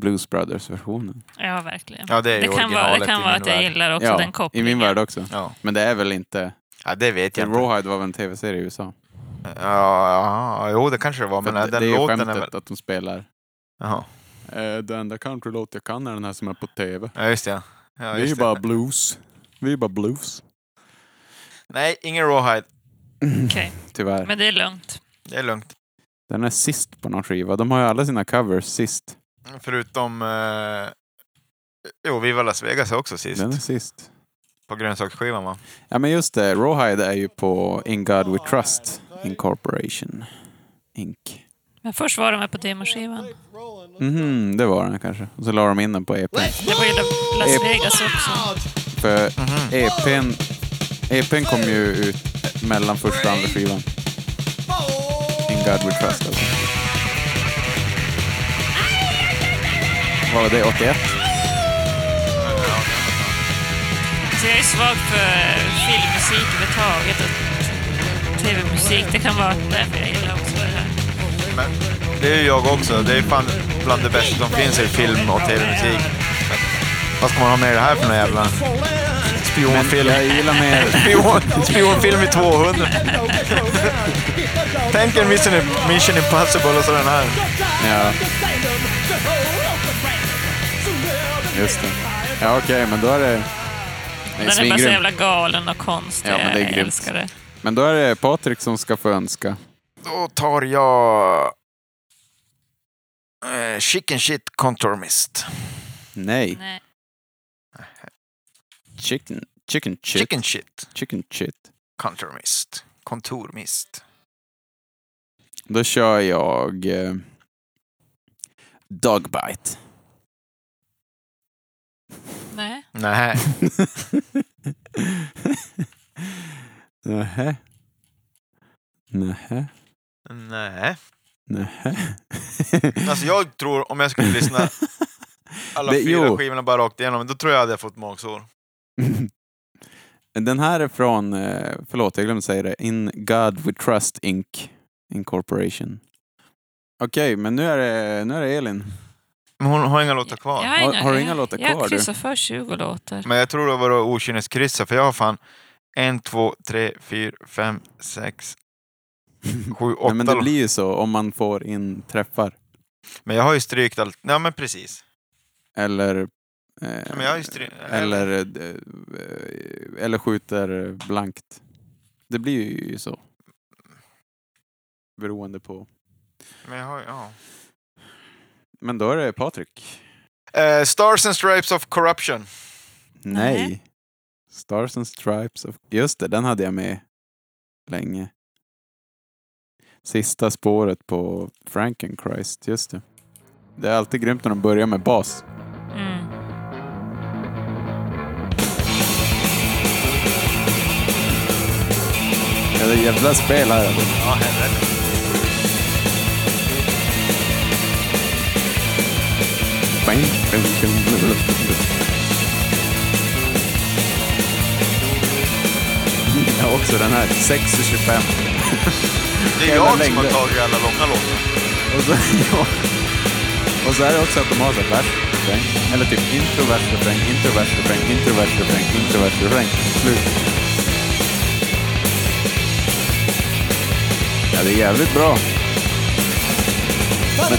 Speaker 2: Blues Brothers-versionen.
Speaker 3: Ja, verkligen.
Speaker 1: Ja, det är ju
Speaker 3: det, kan vara, det
Speaker 1: originalet
Speaker 3: kan
Speaker 1: i
Speaker 3: vara
Speaker 1: min
Speaker 3: att jag
Speaker 1: värld.
Speaker 3: gillar också den
Speaker 2: I
Speaker 3: kopplingen.
Speaker 2: min värld också.
Speaker 1: Ja,
Speaker 2: Men det är väl inte...
Speaker 1: ja det vet jag inte.
Speaker 2: Rawhide var väl en tv-serie i USA?
Speaker 1: Ja, ja, jo, det kanske det var,
Speaker 2: För
Speaker 1: men nej,
Speaker 2: att det
Speaker 1: den
Speaker 2: det är ju
Speaker 1: låten
Speaker 2: skämtet
Speaker 1: är väl...
Speaker 2: att de spelar...
Speaker 1: Jaha.
Speaker 2: Eh, den enda countrylåt jag kan är den här som är på tv.
Speaker 1: Ja, just det. ja.
Speaker 2: Vi
Speaker 1: Ja,
Speaker 2: är
Speaker 1: just
Speaker 2: ju
Speaker 1: det.
Speaker 2: bara blues. Vi är ju bara blues.
Speaker 1: Nej, ingen rawhide.
Speaker 3: Okej,
Speaker 2: Tyvärr.
Speaker 3: men det är lugnt.
Speaker 1: Det är lugnt.
Speaker 2: Den är sist på någon skiva. De har ju alla sina covers sist.
Speaker 1: Förutom... Eh... Jo, Viva Las Vegas är också sist.
Speaker 2: Den är sist.
Speaker 1: På grönsaksskivan, va?
Speaker 2: Ja men just det, Rawhide är ju på In God We Trust Incorporation. Inc.
Speaker 3: Men först var de här på demoskivan.
Speaker 2: Mhm, det var den kanske. Och så la de in den på EPn.
Speaker 3: Det var ju La- Las
Speaker 2: Ehm.
Speaker 3: Vegas också.
Speaker 2: För
Speaker 1: Mhm.
Speaker 2: E EPn, EPn kom ju ut mellan första och andra skivan. In God We Trust alltså. Vad var det, 81?
Speaker 3: Så jag är svag för filmmusik överhuvudtaget och tv-musik. Det kan vara därför jag gillar också det här.
Speaker 1: Men det är ju jag också. Det är fan bland det bästa som finns i film och tv-musik. Vad ska man ha med det här för någon jävla
Speaker 2: Men
Speaker 1: spionfilm?
Speaker 2: jag gillar mer...
Speaker 1: Spion, spionfilm i 200. Tänk en Mission, Mission Impossible och så den här.
Speaker 2: Ja. Just det. Ja okej, men då är det... Nej,
Speaker 3: Den är bara så
Speaker 2: svingrym.
Speaker 3: jävla galen och konstig.
Speaker 2: Ja, men det är
Speaker 3: jag
Speaker 2: grymt.
Speaker 3: älskar det.
Speaker 2: Men då är det Patrik som ska få önska.
Speaker 1: Då tar jag... eh, Chicken shit contour mist.
Speaker 2: Nej.
Speaker 3: Nej.
Speaker 2: Chicken, chicken shit.
Speaker 1: Chicken shit
Speaker 2: Chicken shit.
Speaker 1: contour mist. Kontor mist.
Speaker 2: Då kör jag... Eh, Dogbite.
Speaker 3: Nej.
Speaker 1: Nej.
Speaker 2: Nähä. Nähä.
Speaker 1: Nej.
Speaker 2: Nähä.
Speaker 1: Alltså jag tror om jag skulle lyssna alla
Speaker 2: Det-
Speaker 1: fyra
Speaker 2: jo.
Speaker 1: skivorna bara rakt igenom, då tror jag jag hade fått magsår.
Speaker 2: Den här är från, eh, förlåt jag glömde säga det, In God We Trust Inc. Incorporation. Okej, men nu är, det, nu är det Elin.
Speaker 1: Men hon har inga låtar kvar.
Speaker 3: Jag har,
Speaker 2: Har- har du inga
Speaker 3: jag-
Speaker 2: låtar kvar,
Speaker 3: Jag
Speaker 2: du?
Speaker 3: kryssar för 20 låtar.
Speaker 1: Men jag tror det var då okynneskryssa, för jag har fan en, två, tre, fyra, fem, sex, sju, åtta.
Speaker 2: Nej, men det
Speaker 1: lå-
Speaker 2: blir ju så om man får in träffar.
Speaker 1: men jag har ju strykt allt. Ja men precis.
Speaker 2: Eller... eh,
Speaker 1: Ja, men jag har ju stry...
Speaker 2: eller, eh, eller skjuter blankt. Det blir ju så. Beroende på.
Speaker 1: Men jag har, ju- ja.
Speaker 2: Men då är det Patrik.
Speaker 1: Eh, Stars and Stripes of Corruption.
Speaker 2: Nej.
Speaker 3: Nej.
Speaker 2: Stars and Stripes of... Just det, den hade jag med länge. Sista spåret på Frankenchrist, just det. Det är alltid grymt när de börjar med bas.
Speaker 3: Mm.
Speaker 2: Ja, det är jävla spel här. alltså.
Speaker 1: Ja, helvete.
Speaker 2: Ja, också den här. 6.25.
Speaker 1: Det är
Speaker 2: Jävla
Speaker 1: jag som har
Speaker 2: längder.
Speaker 1: tagit alla långa låtar.
Speaker 2: Och så, ja. och så är det också att de har så här vers, refräng. Eller typ intro, vers, refräng, intro, vers, refräng, intro, vers, refräng, intro, vers, refräng. Slut. Ja, det är jävligt bra. Alltså,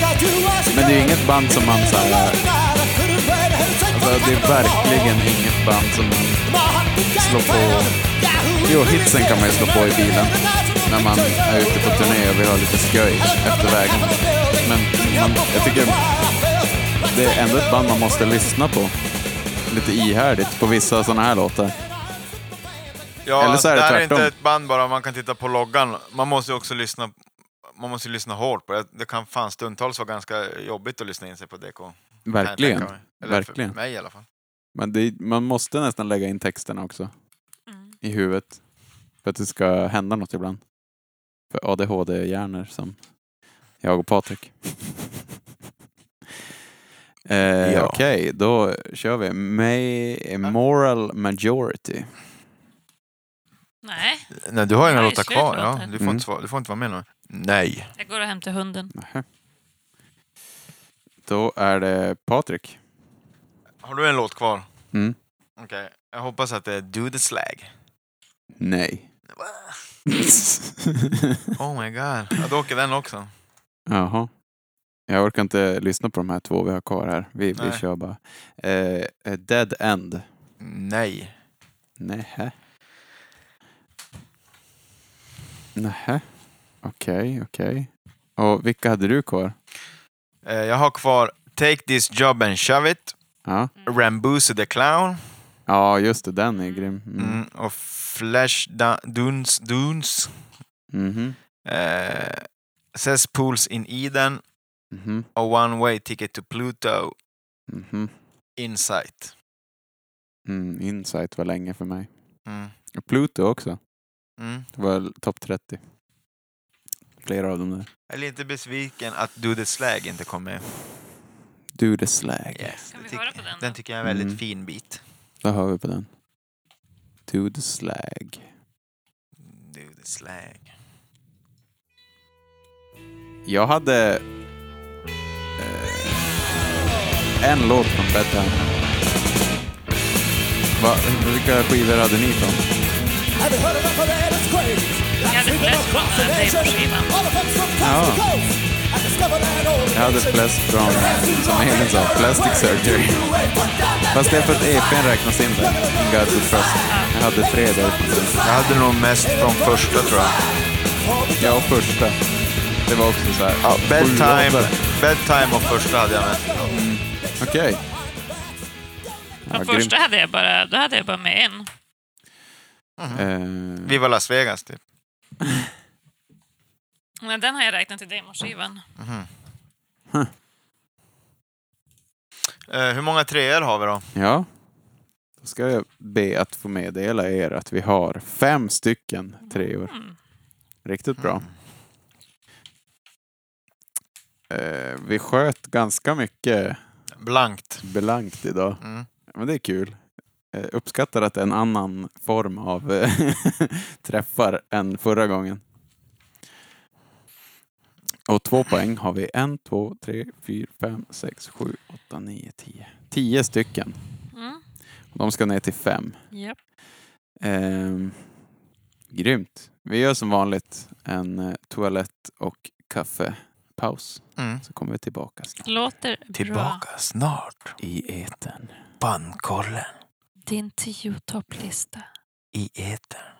Speaker 2: Men det är ju inget band som man så här... Alltså, det är verkligen inget band som man...
Speaker 6: slå på... Jo, hitsen kan man ju slå på i bilen
Speaker 2: När man är ute på turné och vill ha lite sköj efter vägen. Men man, jag tycker det är ändå ett band man måste lyssna på. Lite ihärdigt på vissa sådana här låtar.
Speaker 1: Ja,
Speaker 2: Eller så är det
Speaker 1: här är
Speaker 2: tvärtom.
Speaker 1: inte ett band bara man kan titta på loggan. Man måste ju också lyssna man måste ju lyssna hårt på det. Det kan fan stundtals vara ganska jobbigt att lyssna in sig på DK. kan jag
Speaker 2: Verkligen.
Speaker 1: tänka mig. Eller
Speaker 2: Verkligen.
Speaker 1: För mig i alla fall.
Speaker 2: Men det, man måste nästan lägga in texterna också i huvudet för att det ska hända något ibland. För ADHD-hjärnor som Jag och Patrik. eh,
Speaker 1: Ja.
Speaker 2: Okej, då kör vi. May moral majority.
Speaker 3: Nej,
Speaker 1: Nej, du har ju inga
Speaker 3: Nej,
Speaker 1: låtar
Speaker 3: slut
Speaker 1: kvar.
Speaker 3: låten.
Speaker 1: Ja, du, får
Speaker 2: Mm.
Speaker 1: inte, svara- du får inte vara med nu. Nej.
Speaker 3: jag går och hämtar hunden.
Speaker 2: Nähä. Då är det Patrik.
Speaker 1: Har du en låt kvar?
Speaker 2: Mm.
Speaker 1: Okej. Jag hoppas att det är Do the Slag.
Speaker 2: Nej.
Speaker 1: Oh my god. Ja, då åker den också.
Speaker 2: Jaha. Jag orkar inte lyssna på de här två vi har kvar här. Vi, vi
Speaker 1: Nej.
Speaker 2: kör bara. Eh, eh, dead End.
Speaker 1: Nej.
Speaker 2: Nähä. Nähä. Okej, okej. Och vilka hade du kvar?
Speaker 1: Eh, jag har kvar Take This Job and Shove It,
Speaker 2: Ja,
Speaker 1: Rambuse the Clown
Speaker 2: ja just det. Den är grym. Mm.
Speaker 1: mm. och Flash Da- Dunes. Dunes.
Speaker 2: Mhm.
Speaker 1: Eh, Cesspools in Eden
Speaker 2: Mhm.
Speaker 1: och One Way Ticket to Pluto,
Speaker 2: Mhm.
Speaker 1: Insight.
Speaker 2: Mm, Insight var länge för mig.
Speaker 1: Mm.
Speaker 2: Och Pluto också.
Speaker 1: Mm.
Speaker 2: Det var topp 30. Flera av dem där.
Speaker 1: Jag är lite besviken att Do the Slag inte kom med.
Speaker 2: Do the slag.
Speaker 1: Yes,
Speaker 3: Kan
Speaker 1: det
Speaker 3: vi
Speaker 1: tyck-
Speaker 3: höra på den då?
Speaker 1: den tycker jag är en väldigt
Speaker 2: Mm.
Speaker 1: fin bit.
Speaker 2: Då hör vi på den. Do the slag.
Speaker 1: Do the Slag.
Speaker 2: Jag hade... Eh, en låt från Petter. Va, vilka skivor hade ni från?
Speaker 6: Have you heard of Operators Craze?
Speaker 3: Jag hade flest från den här tejpskivan.
Speaker 6: All the folks from coast to
Speaker 2: Ja.
Speaker 6: coast. I discovered an old
Speaker 2: Jag hade
Speaker 6: nation.
Speaker 2: flest från, som Elin sa, Plastic Surgery. Fast det är för att EPn räknas in där. God to trust. Jag hade tre därifrån.
Speaker 1: Jag hade nog mest från första tror jag.
Speaker 2: Ja, och första. Det var också så här...
Speaker 1: Ja, bedtime,
Speaker 2: sju, åtta.
Speaker 1: bedtime och första hade jag med.
Speaker 2: Okej. Ja,
Speaker 3: Den
Speaker 2: grymt.
Speaker 3: första hade jag, bara, då hade jag bara med en.
Speaker 2: Eh,
Speaker 1: Viva Las Vegas typ.
Speaker 3: Men den har jag räknat i demoskivan.
Speaker 1: Mhm. Eh, hur många treor har vi då?
Speaker 2: Ja. Då ska jag be att få meddela er att vi har fem stycken treor.
Speaker 3: Mm.
Speaker 2: Riktigt bra. Eh, vi sköt ganska mycket
Speaker 1: Blankt.
Speaker 2: belangt idag.
Speaker 1: Mm.
Speaker 2: Men det är kul. Eh, uppskattar att det är en annan form av eh, träffar än förra gången. Och två poäng har vi. En, två, tre, fyra, fem, sex, sju, åtta, nio, tio. Tio stycken.
Speaker 3: Mm.
Speaker 2: De ska ner till fem.
Speaker 3: Japp.
Speaker 2: Ehm, grymt. Vi gör som vanligt en eh, toalett och kaffepaus.
Speaker 1: Mm.
Speaker 2: Så kommer vi tillbaka snart.
Speaker 3: Låter bra.
Speaker 1: snart.
Speaker 2: I eten.
Speaker 1: Bandkollen
Speaker 3: Din tio topplista.
Speaker 1: i etern.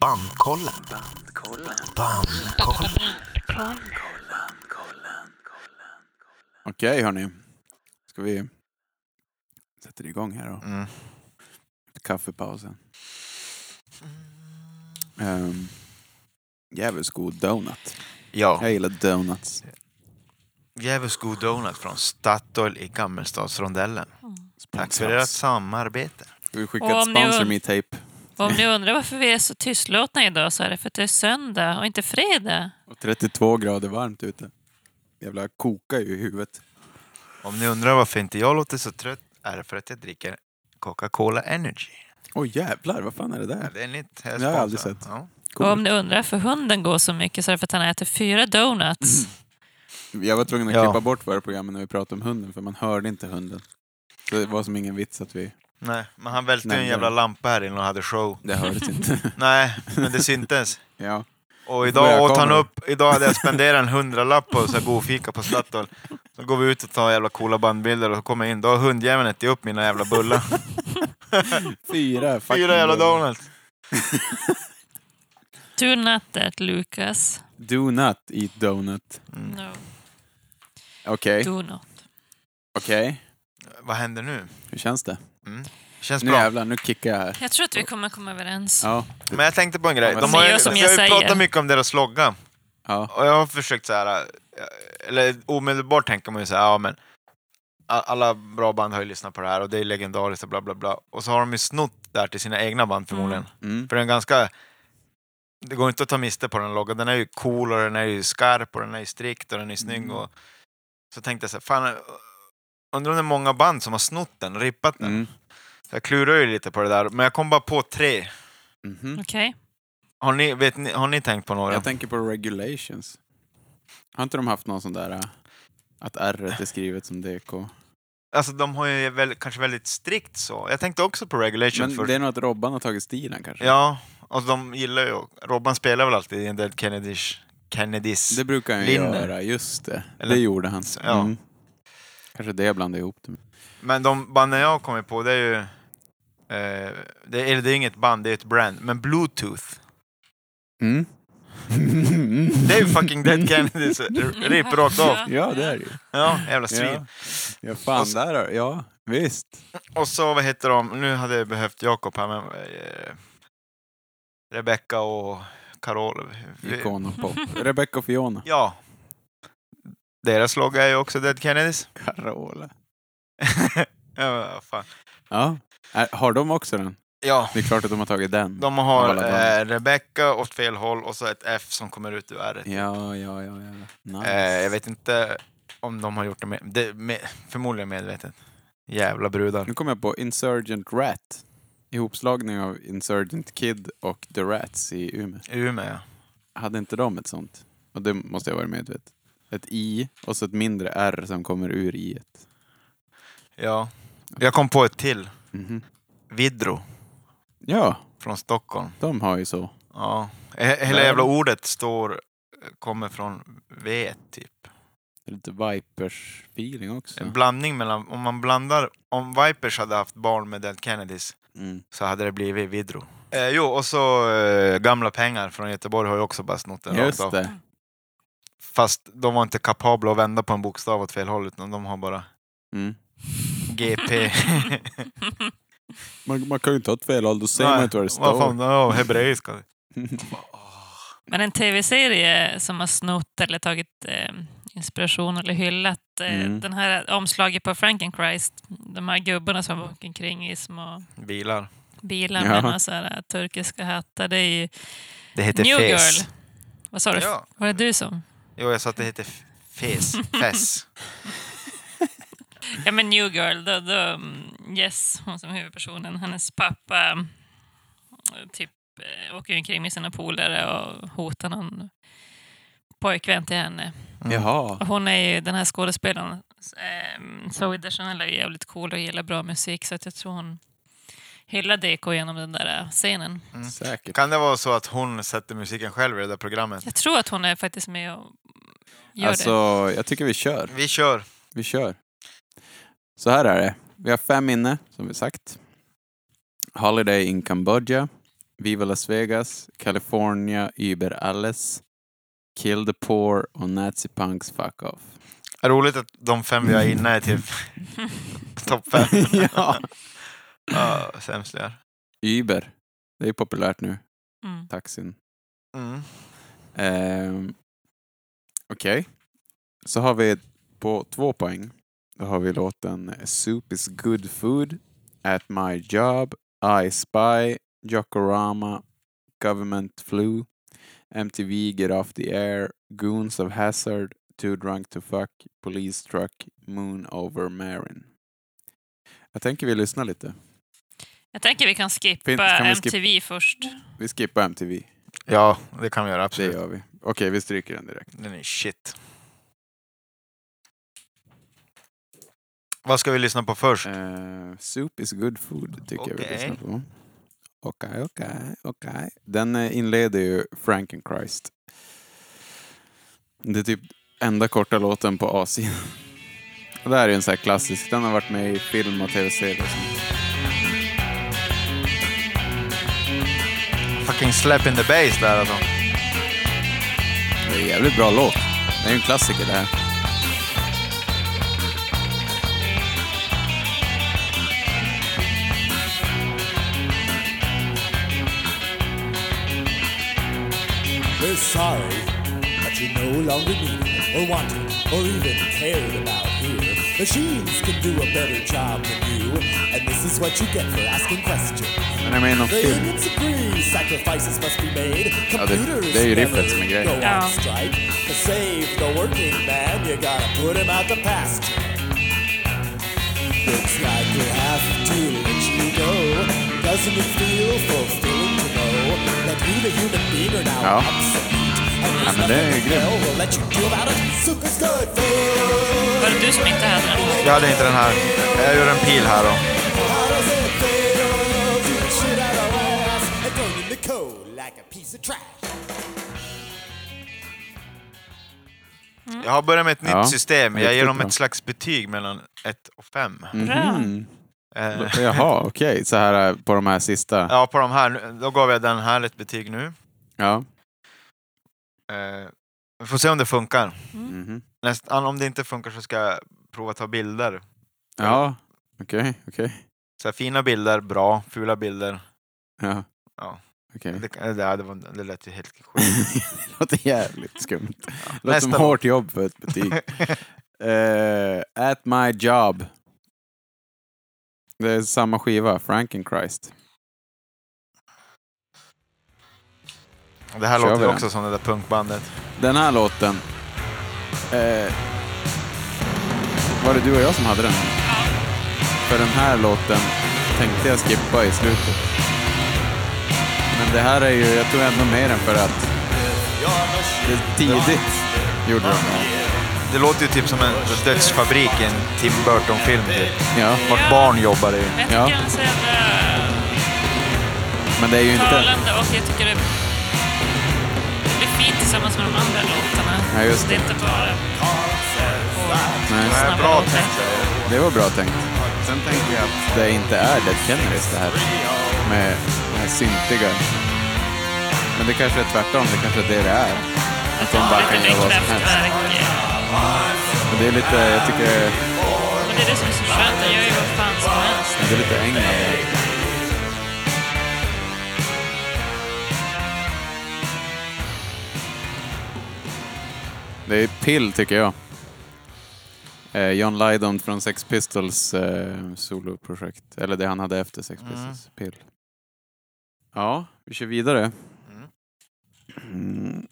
Speaker 4: Bandkollen. Bandkollen.
Speaker 2: Okej hörni. Ska vi sätta igång här då?
Speaker 1: Mm.
Speaker 2: Kaffepausen. Um, jävligt god donut.
Speaker 1: Ja,
Speaker 2: Jag gillar donuts.
Speaker 1: Djävulskt god donut från Statoil i Gammelstadsrondellen. Tack för ert
Speaker 2: Sponsras.
Speaker 1: samarbete.
Speaker 2: Ska vi
Speaker 3: Och
Speaker 2: skicka
Speaker 3: om
Speaker 2: ett
Speaker 3: ni
Speaker 2: sponsor
Speaker 3: und-
Speaker 2: me tape?
Speaker 3: Och Om ni undrar varför vi är så tystlåtna idag så är det för att det är söndag och inte fredag.
Speaker 2: Och 32 grader varmt ute. Jävlar, jag kokar ju i huvudet.
Speaker 1: Om ni undrar varför inte jag låter så trött är det för att jag dricker Coca-Cola Energy.
Speaker 2: Åh jävlar, vad fan är det
Speaker 1: Ja,
Speaker 2: där?
Speaker 1: det är en nytt
Speaker 2: har jag aldrig sett.
Speaker 1: Ja.
Speaker 3: Och om ni undrar varför hunden går så mycket så är det för att han äter fyra donuts.
Speaker 2: Mm. Jag var tvungen att
Speaker 1: Ja.
Speaker 2: klippa bort våra program när vi pratade om hunden, för man hörde inte hunden. Så det var som ingen vits att vi...
Speaker 1: Nej, men han välte ju
Speaker 2: Nej,
Speaker 1: en
Speaker 2: det-
Speaker 1: jävla lampa här inne och hade show.
Speaker 2: Det hördes inte.
Speaker 1: Nej, men det syntes.
Speaker 2: ja.
Speaker 1: Och
Speaker 2: Börja
Speaker 1: idag åt han
Speaker 2: kameran.
Speaker 1: upp, idag hade jag spenderat en hundralapp på så här godfika på Statoil. Så går vi ut och tar jävla coola bandbilder och så kommer jag in, då har hundjäveln ätit upp mina jävla bullar.
Speaker 2: Fyra fucking
Speaker 1: Fyra jävla
Speaker 2: bullar.
Speaker 1: donuts!
Speaker 3: Do not that, Lucas.
Speaker 2: Do not eat donut.
Speaker 3: No,
Speaker 2: Okej,
Speaker 3: do not.
Speaker 2: okej.
Speaker 1: Vad händer nu?
Speaker 2: Hur känns det?
Speaker 1: Känns
Speaker 2: Nu
Speaker 1: bra.
Speaker 2: jävlar, nu kickar jag här.
Speaker 3: Jag tror att vi kommer komma överens.
Speaker 2: Ja.
Speaker 1: Men jag tänkte på en
Speaker 2: Ja,
Speaker 1: grej.
Speaker 2: men-
Speaker 1: De har
Speaker 3: Men
Speaker 1: ju,
Speaker 3: gör som
Speaker 1: vi
Speaker 3: jag
Speaker 1: har ju
Speaker 3: säger.
Speaker 1: pratat mycket om deras logga.
Speaker 2: ja.
Speaker 1: Och jag har försökt så här, eh, eller omedelbart tänker man ju så här, ja men a- alla bra band har ju lyssnat på det här och det är legendariskt och bla bla bla. Och så har de ju snott det här till sina egna band förmodligen.
Speaker 2: Mm.
Speaker 1: För det är en ganska, det går inte att ta miste på den loggan. Den är ju cool och den är ju skarp och den är ju strikt och den är snygg.
Speaker 2: Mm.
Speaker 1: Och så tänkte jag så här, fan, undrar om det är många band som har snott den, rippat den.
Speaker 2: Mm.
Speaker 1: Jag klurar ju lite på det där, men jag kom bara på tre.
Speaker 2: Mhm.
Speaker 3: Okej.
Speaker 1: Har ni, vet ni, har ni tänkt på några?
Speaker 2: Jag tänker på regulations. Har inte de haft någon sån där eh, att R är skrivet som DK?
Speaker 1: Alltså de har ju väl, kanske väldigt strikt så. Jag tänkte också på Regulation
Speaker 2: Men
Speaker 1: först.
Speaker 2: det är nog att Robban har tagit stilen kanske?
Speaker 1: Ja, och de gillar ju... Robban spelar väl alltid i en del Kennedys... Kennedys.
Speaker 2: Det brukar han ju
Speaker 1: Linner.
Speaker 2: göra, just det.
Speaker 1: Eller-
Speaker 2: Det gjorde han.
Speaker 1: Ja.
Speaker 2: Mm. Kanske det jag blandade ihop det med.
Speaker 1: Men de banden jag har kommit på, det är ju... Eh, det, är, det är inget band, det är ett brand. Men Bluetooth.
Speaker 2: Mm.
Speaker 1: Det är ju fucking Dead Kennedys rip rakt av.
Speaker 3: Mm.
Speaker 2: Ja, det är det ju.
Speaker 1: Ja, jävla svin.
Speaker 2: Ja. ja, fan där har- Ja, visst.
Speaker 1: Och så, vad heter de? Nu hade jag behövt Jakob här, men... Eh, Rebecca och Carol.
Speaker 2: Ikon och pop. Rebecca och Fiona.
Speaker 1: Ja. Deras logga är ju också Dead Kennedys.
Speaker 2: Carola.
Speaker 1: ja, men vad fan.
Speaker 2: Ja. Ä- Har de också den?
Speaker 1: ja,
Speaker 2: Det är klart att de har tagit den.
Speaker 1: de
Speaker 2: Av
Speaker 1: har
Speaker 2: alla band.
Speaker 1: eh, Rebecca åt fel håll och så ett F som kommer ut ur R.
Speaker 2: Ja, ja, ja. ja. Nice.
Speaker 1: Eh, jag vet inte om de har gjort det, med, det med, förmodligen medvetet. Jävla brudar.
Speaker 2: Nu kom jag på Insurgent Rat. Ihopslagning av Insurgent Kid och The Rats i Umeå.
Speaker 1: Umeå, ja.
Speaker 2: Hade inte de ett sånt? Och det måste jag vara medveten. Ett I och så ett mindre R som kommer ur I.
Speaker 1: ja. Jag kom på ett till. Vidro
Speaker 2: Ja,
Speaker 1: från Stockholm.
Speaker 2: de har ju så.
Speaker 1: Ja. He- Hela jävla ordet står, kommer från V typ.
Speaker 2: Det är Lite Vipers-feeling också.
Speaker 1: En blandning mellan, om man blandar, om Vipers hade haft barn med Dead Kennedys
Speaker 2: Mm.
Speaker 1: så hade det blivit Vidro. Eh, jo, och så eh, Gamla pengar från Göteborg har ju också bara snott den rakt
Speaker 2: Just
Speaker 1: av.
Speaker 2: det.
Speaker 1: Fast de var inte kapabla att vända på en bokstav åt fel håll, utan de har bara
Speaker 2: Mm.
Speaker 1: GP.
Speaker 2: Man, man kan ju inte ha ett fel håll, då säger man
Speaker 1: Nej,
Speaker 2: inte vad det
Speaker 1: Vad
Speaker 2: står.
Speaker 1: fan, ja, hebreiska.
Speaker 3: Men en tv-serie som har snott eller tagit eh, inspiration eller hyllat eh,
Speaker 2: Mm.
Speaker 3: den här omslaget på Frankenchrist. De här gubbarna som åker omkring i små
Speaker 1: Bilar.
Speaker 3: bilar
Speaker 2: Ja.
Speaker 3: med några så här turkiska hattar. Det är ju
Speaker 1: Det heter
Speaker 3: New
Speaker 1: fes.
Speaker 3: Girl. Vad sa du?
Speaker 1: Ja.
Speaker 3: Var det du som?
Speaker 1: Jo, jag sa att det heter f- fes. Fes.
Speaker 3: Ja men New Girl, då, då, mm, yes, hon som är huvudpersonen, hennes pappa mm, typ eh, åker ju omkring med sina polare och hotar någon pojkvän till henne.
Speaker 2: Mm. Jaha.
Speaker 3: Och Hon är ju den här skådespelaren, eh, Zoe Deschanel är ju jävligt cool och gillar bra musik så att jag tror hon hyllar DK genom den där eh, scenen.
Speaker 2: Säkert.
Speaker 1: Kan det vara så att hon sätter musiken själv i det där programmet?
Speaker 3: Jag tror att hon är faktiskt med och gör
Speaker 2: Alltså,
Speaker 3: det.
Speaker 2: jag tycker vi kör.
Speaker 1: Vi kör.
Speaker 2: Vi kör. Så här är det. Vi har fem inne, som vi sagt. Holiday in Cambodja, Viva Las Vegas, California Über alles, Kill the Poor och Nazi Punks Fuck Off.
Speaker 1: Roligt att de fem vi har inne är typ topp fem.
Speaker 2: ja.
Speaker 1: Ja, sämst jag är.
Speaker 2: Uber, det är populärt nu,
Speaker 3: Mm.
Speaker 2: taxin.
Speaker 1: Mm.
Speaker 2: Ehm, Okej. Så har vi på två poäng. Då har vi låten Soup is good food, At my job, I spy, Jokorama, Government flu, MTV Get off the air, Goons of Hazard, Too drunk to fuck, Police truck, Moon over Marin. Jag tänker vi lyssnar lite.
Speaker 3: Jag tänker vi kan skippa
Speaker 2: Fin- kan vi skip-
Speaker 3: MTV först.
Speaker 2: Vi skippar MTV.
Speaker 1: Ja, det kan vi göra.
Speaker 2: Det
Speaker 1: Absolut.
Speaker 2: gör vi. Okej, vi stryker den direkt.
Speaker 1: Den är shit. Vad ska vi lyssna på först?
Speaker 2: Eh, soup is good food tycker jag vi
Speaker 1: Okej.
Speaker 2: lyssnar på. Okej, okej, okej. Den eh, inleder ju Frankenchrist. Det är typ enda korta låten på A-sidan. Och det här är en sån här klassisk. Den har varit med i film och tv-serier. och sånt. Mm.
Speaker 1: Fucking slap in the bass där alltså.
Speaker 2: Det är en jävligt bra låt. Det är ju en klassiker det här.
Speaker 6: We're sorry that you no longer needed or wanted or even cared about here. Machines can do a better job than you, and this is what you get for asking questions.
Speaker 2: Den är med i någon
Speaker 6: They
Speaker 2: film.
Speaker 6: humans agree sacrifices must be made.
Speaker 2: Ja, det-
Speaker 6: Computers
Speaker 2: det är ju
Speaker 6: never
Speaker 2: riffet som är grejen.
Speaker 6: go on
Speaker 3: Ja.
Speaker 6: strike. To save the working man, you gotta put him out the pasture. Looks like we have to let you go. Doesn't it feel fulfilling to know that we the human being are now
Speaker 2: Ja.
Speaker 6: obsolete? And
Speaker 2: Ja,
Speaker 6: there's
Speaker 2: men det är
Speaker 6: nothing
Speaker 2: grymt.
Speaker 6: hell will let you do about it. Soup is good for
Speaker 3: Var det du som inte hade den?
Speaker 1: Jag hade inte den här. Jag gör en pil här då.
Speaker 6: How does it feel? Do the shit out of our ass and throw in the cold like a piece of trash.
Speaker 1: Jag har börjat med ett
Speaker 2: Ja,
Speaker 1: nytt system. Jag
Speaker 2: riktigt
Speaker 1: ger dem
Speaker 2: bra.
Speaker 1: ett slags betyg mellan 1 och 5.
Speaker 3: Bra.
Speaker 1: Eh,
Speaker 2: Mhm. Jaha, okej. Så här eh, på de här sista.
Speaker 1: ja, på de här. Då gav jag den här ett betyg nu.
Speaker 2: Ja.
Speaker 1: Eh, vi får se om det funkar.
Speaker 2: Mhm.
Speaker 1: Nästan, om det inte funkar så ska jag prova att ta bilder.
Speaker 2: Ja, okej, okej.
Speaker 1: Så här, fina bilder, bra. Fula bilder.
Speaker 2: Ja.
Speaker 1: Ja.
Speaker 2: Okej.
Speaker 1: Det, eh, det, det, var, det lät ju helt sjukt.
Speaker 2: det låter jävligt skumt. Det låter som
Speaker 1: Nästa låt.
Speaker 2: hårt jobb för ett betyg. Eh, at my job. Det är samma skiva, Frankenchrist.
Speaker 1: Det här
Speaker 2: Kör
Speaker 1: låter
Speaker 2: vi
Speaker 1: ju
Speaker 2: den?
Speaker 1: också som det där punkbandet.
Speaker 2: Den här låten. Eh, var det du och jag som hade den? För den här låten tänkte jag skippa i slutet. Men det här är ju, jag tog ändå med den för att det är tidigt gjorde de det.
Speaker 1: Det låter ju typ som en dödsfabrik i en Tim Burton-film. Typ.
Speaker 2: Ja,
Speaker 1: Vart barn jobbar i.
Speaker 3: Jag
Speaker 2: Ja.
Speaker 3: tycker den är så jävla
Speaker 2: men det är ju inte...
Speaker 3: talande och jag tycker det, det blir fint tillsammans med de andra låtarna.
Speaker 2: Ja, just
Speaker 3: det. är inte bara
Speaker 2: Nej.
Speaker 3: snabba
Speaker 1: Bra
Speaker 3: låtar.
Speaker 1: tänkt.
Speaker 2: Det var bra tänkt. Sen tänker jag att det inte är Dead Kennedys det här med det här syntiga. Men det kanske är tvärtom, det kanske är det det är. Att de bara kan
Speaker 3: Lite
Speaker 2: göra vad som helst.
Speaker 3: kraftverk. eh,
Speaker 2: Men det är lite, jag tycker,
Speaker 3: Och det är det som är så skönt. Jag gör ju vad fan som helst.
Speaker 2: det är lite England. Det är pill tycker jag. Eh, John Lydon från Sex Pistols eh, soloprojekt. Eller det han hade efter Sex
Speaker 1: Mm.
Speaker 2: Pistols. Pill. Ja, vi kör vidare. Mm.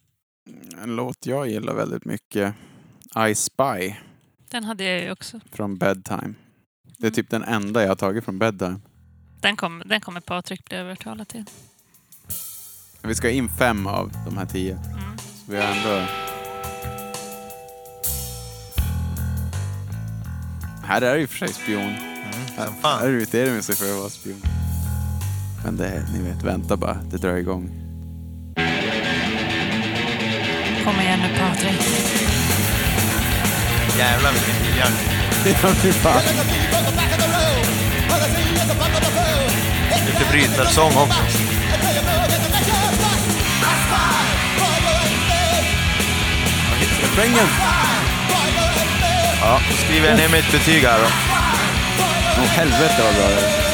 Speaker 2: En låt jag gillar väldigt mycket. I Spy
Speaker 3: Den hade jag ju också.
Speaker 2: från Bedtime. Det är typ den enda jag har tagit från Bedtime.
Speaker 3: Den kommer den kommer Patrik bli övertalad till.
Speaker 2: Vi ska in fem av de här tio. Så vi har ändå... Här är det ju för sig spion.
Speaker 1: Som
Speaker 2: Här
Speaker 1: fan.
Speaker 2: irriterar man sig för att vara spion. Men det, ni vet, vänta bara. Det drar igång.
Speaker 3: Kom igen nu Patrik.
Speaker 1: Jävlar vilken vilja.
Speaker 2: Ja, fy fan.
Speaker 1: Lite brytarsång också.
Speaker 2: Refrängen!
Speaker 1: Ja, då skriver jag ner mitt betyg här då.
Speaker 2: Åh helvete vad bra det är.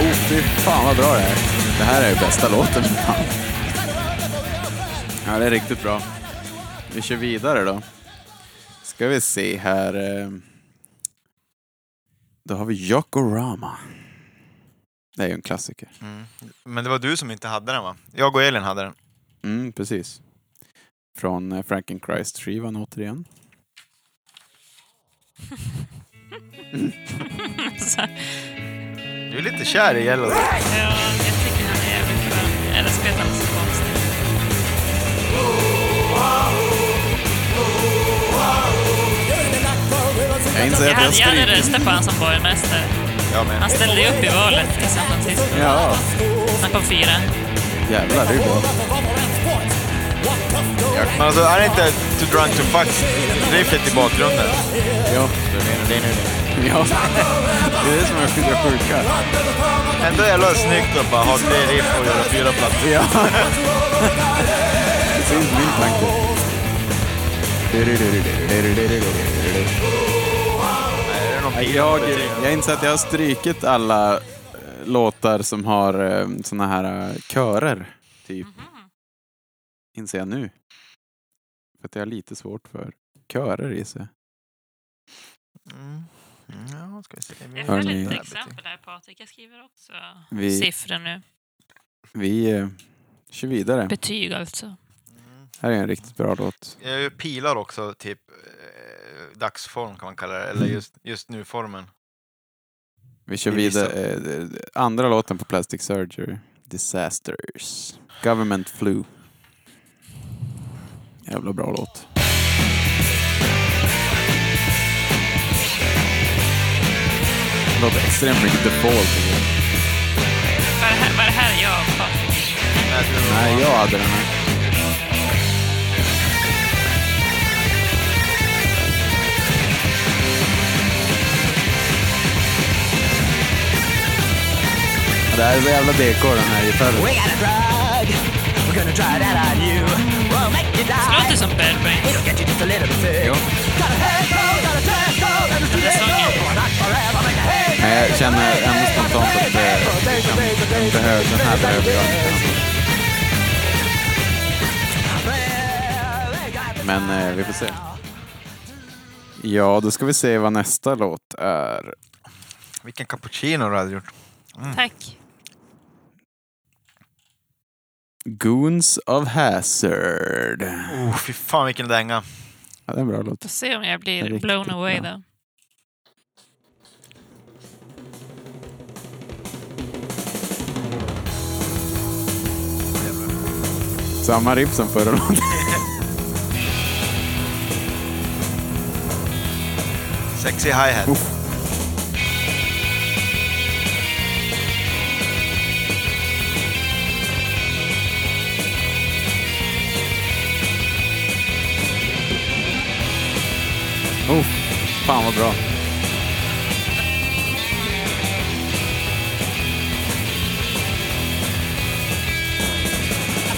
Speaker 2: Oh fy fan vad bra det är. Det här är ju bästa låten. Fan. Ja, det är riktigt bra. Vi kör vidare då. Ska vi se här. eh. Då har vi Yokorama. Det är ju en klassiker.
Speaker 1: Men det var du som inte hade den va? Jag och Elin hade den.
Speaker 2: Mm, precis. Från eh, Frankenchrist-skivan återigen.
Speaker 3: Så,
Speaker 1: Du är lite kär i Yellow.
Speaker 3: ja, jag tycker han är jävligt skön. Eller spelar han så konstigt.
Speaker 2: Jag inser
Speaker 3: Jag
Speaker 2: att jag
Speaker 3: hade, jag
Speaker 2: stryker.
Speaker 3: hade röstat på han som borgmästare.
Speaker 1: Jag med.
Speaker 3: Han ställde ju upp i valet i San Francisco.
Speaker 2: Ja,
Speaker 3: Han kom fyra.
Speaker 2: jävlar det är ju bra.
Speaker 1: Men alltså, är det inte Too Drunk To Fuck riffet i bakgrunden?
Speaker 2: Ja, ja. det är det som är det sjuka.
Speaker 1: Ändå jävla snyggt att bara ha tre riff och göra fyra plattor.
Speaker 2: Ja. Det är inte min tanke.
Speaker 1: Är det någon pil?
Speaker 2: Jag, jag inser att jag har strykit alla eh, låtar som har eh, såna här eh, körer,
Speaker 3: Mm-hmm.
Speaker 2: typ. Inser jag nu. För att jag har lite svårt för körer i sig.
Speaker 1: Mm. Ja, ska vi se. Mm. Vi
Speaker 3: Jag
Speaker 2: får
Speaker 3: har
Speaker 1: har
Speaker 2: Hörni.
Speaker 3: lite
Speaker 1: lite
Speaker 3: exempel här Patrik. Jag skriver också
Speaker 2: Vi,
Speaker 3: siffror nu.
Speaker 2: vi eh, kör vidare.
Speaker 3: Betyg alltså.
Speaker 2: Här är en riktigt bra låt.
Speaker 1: Jag gör pilar också, typ eh, dagsform kan man kalla det, eller just, just nu-formen.
Speaker 2: Vi kör
Speaker 1: Vi gissar.
Speaker 2: vidare. eh, eh, Andra låten på Plastic Surgery. Disasters. Government Flu. Jävla bra låt. Det låter extremt mycket default. tycker jag.
Speaker 3: Var det här, var det här jag och Patrik?
Speaker 2: Nej, jag hade den här. Ja, Det här är så jävla DK den här gitarren.
Speaker 6: We got a drug. We're gonna try that on you. We'll make you
Speaker 3: Det
Speaker 6: die.
Speaker 3: låter som Bad Brains.
Speaker 6: It'll get you just a little bit sick.
Speaker 2: Jo.
Speaker 6: Got a head cold, got a chest cold, and it's too late.
Speaker 3: sången.
Speaker 6: Oh, not forever, make a head
Speaker 2: Men jag känner ändå spontant att det, den, behöver, den här behöver jag. Men eh, vi får se. Ja, då ska vi se vad nästa låt är.
Speaker 1: Vilken cappuccino du hade gjort.
Speaker 3: Tack.
Speaker 2: Goons of Hazard.
Speaker 1: Oh, fy fan vilken dänga.
Speaker 2: Ja, det är en bra låt.
Speaker 3: Får se om jag blir
Speaker 2: Riktigt
Speaker 3: blown away
Speaker 2: bra.
Speaker 3: då.
Speaker 2: Samma riff som förra låten.
Speaker 1: Sexy hi-hat.
Speaker 2: Oh, fan vad bra.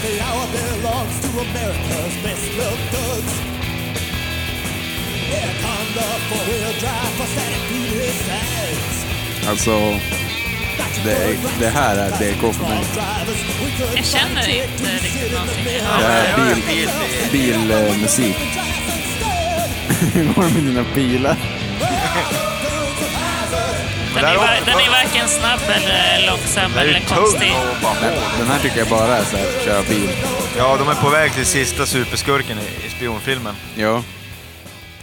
Speaker 6: The hour belongs to America's best loved thugs. Here come the four-wheel drive for Santa Cruz sides.
Speaker 2: Alltså, det, är- det här är DK för mig.
Speaker 3: Jag känner inte riktigt någonting.
Speaker 2: Det
Speaker 3: Ja.
Speaker 2: här är bil,
Speaker 1: Bil, det är-
Speaker 2: bilmusik. Hur går det med dina bilar?
Speaker 3: Den, är, var- den är varken snabb eller långsam
Speaker 1: Det är ju
Speaker 3: eller
Speaker 1: tung
Speaker 3: konstig.
Speaker 1: och bara
Speaker 2: Den, den här tycker jag bara är så här, köra bil.
Speaker 1: Ja, de är på väg till sista superskurken i, i spionfilmen.
Speaker 2: Ja.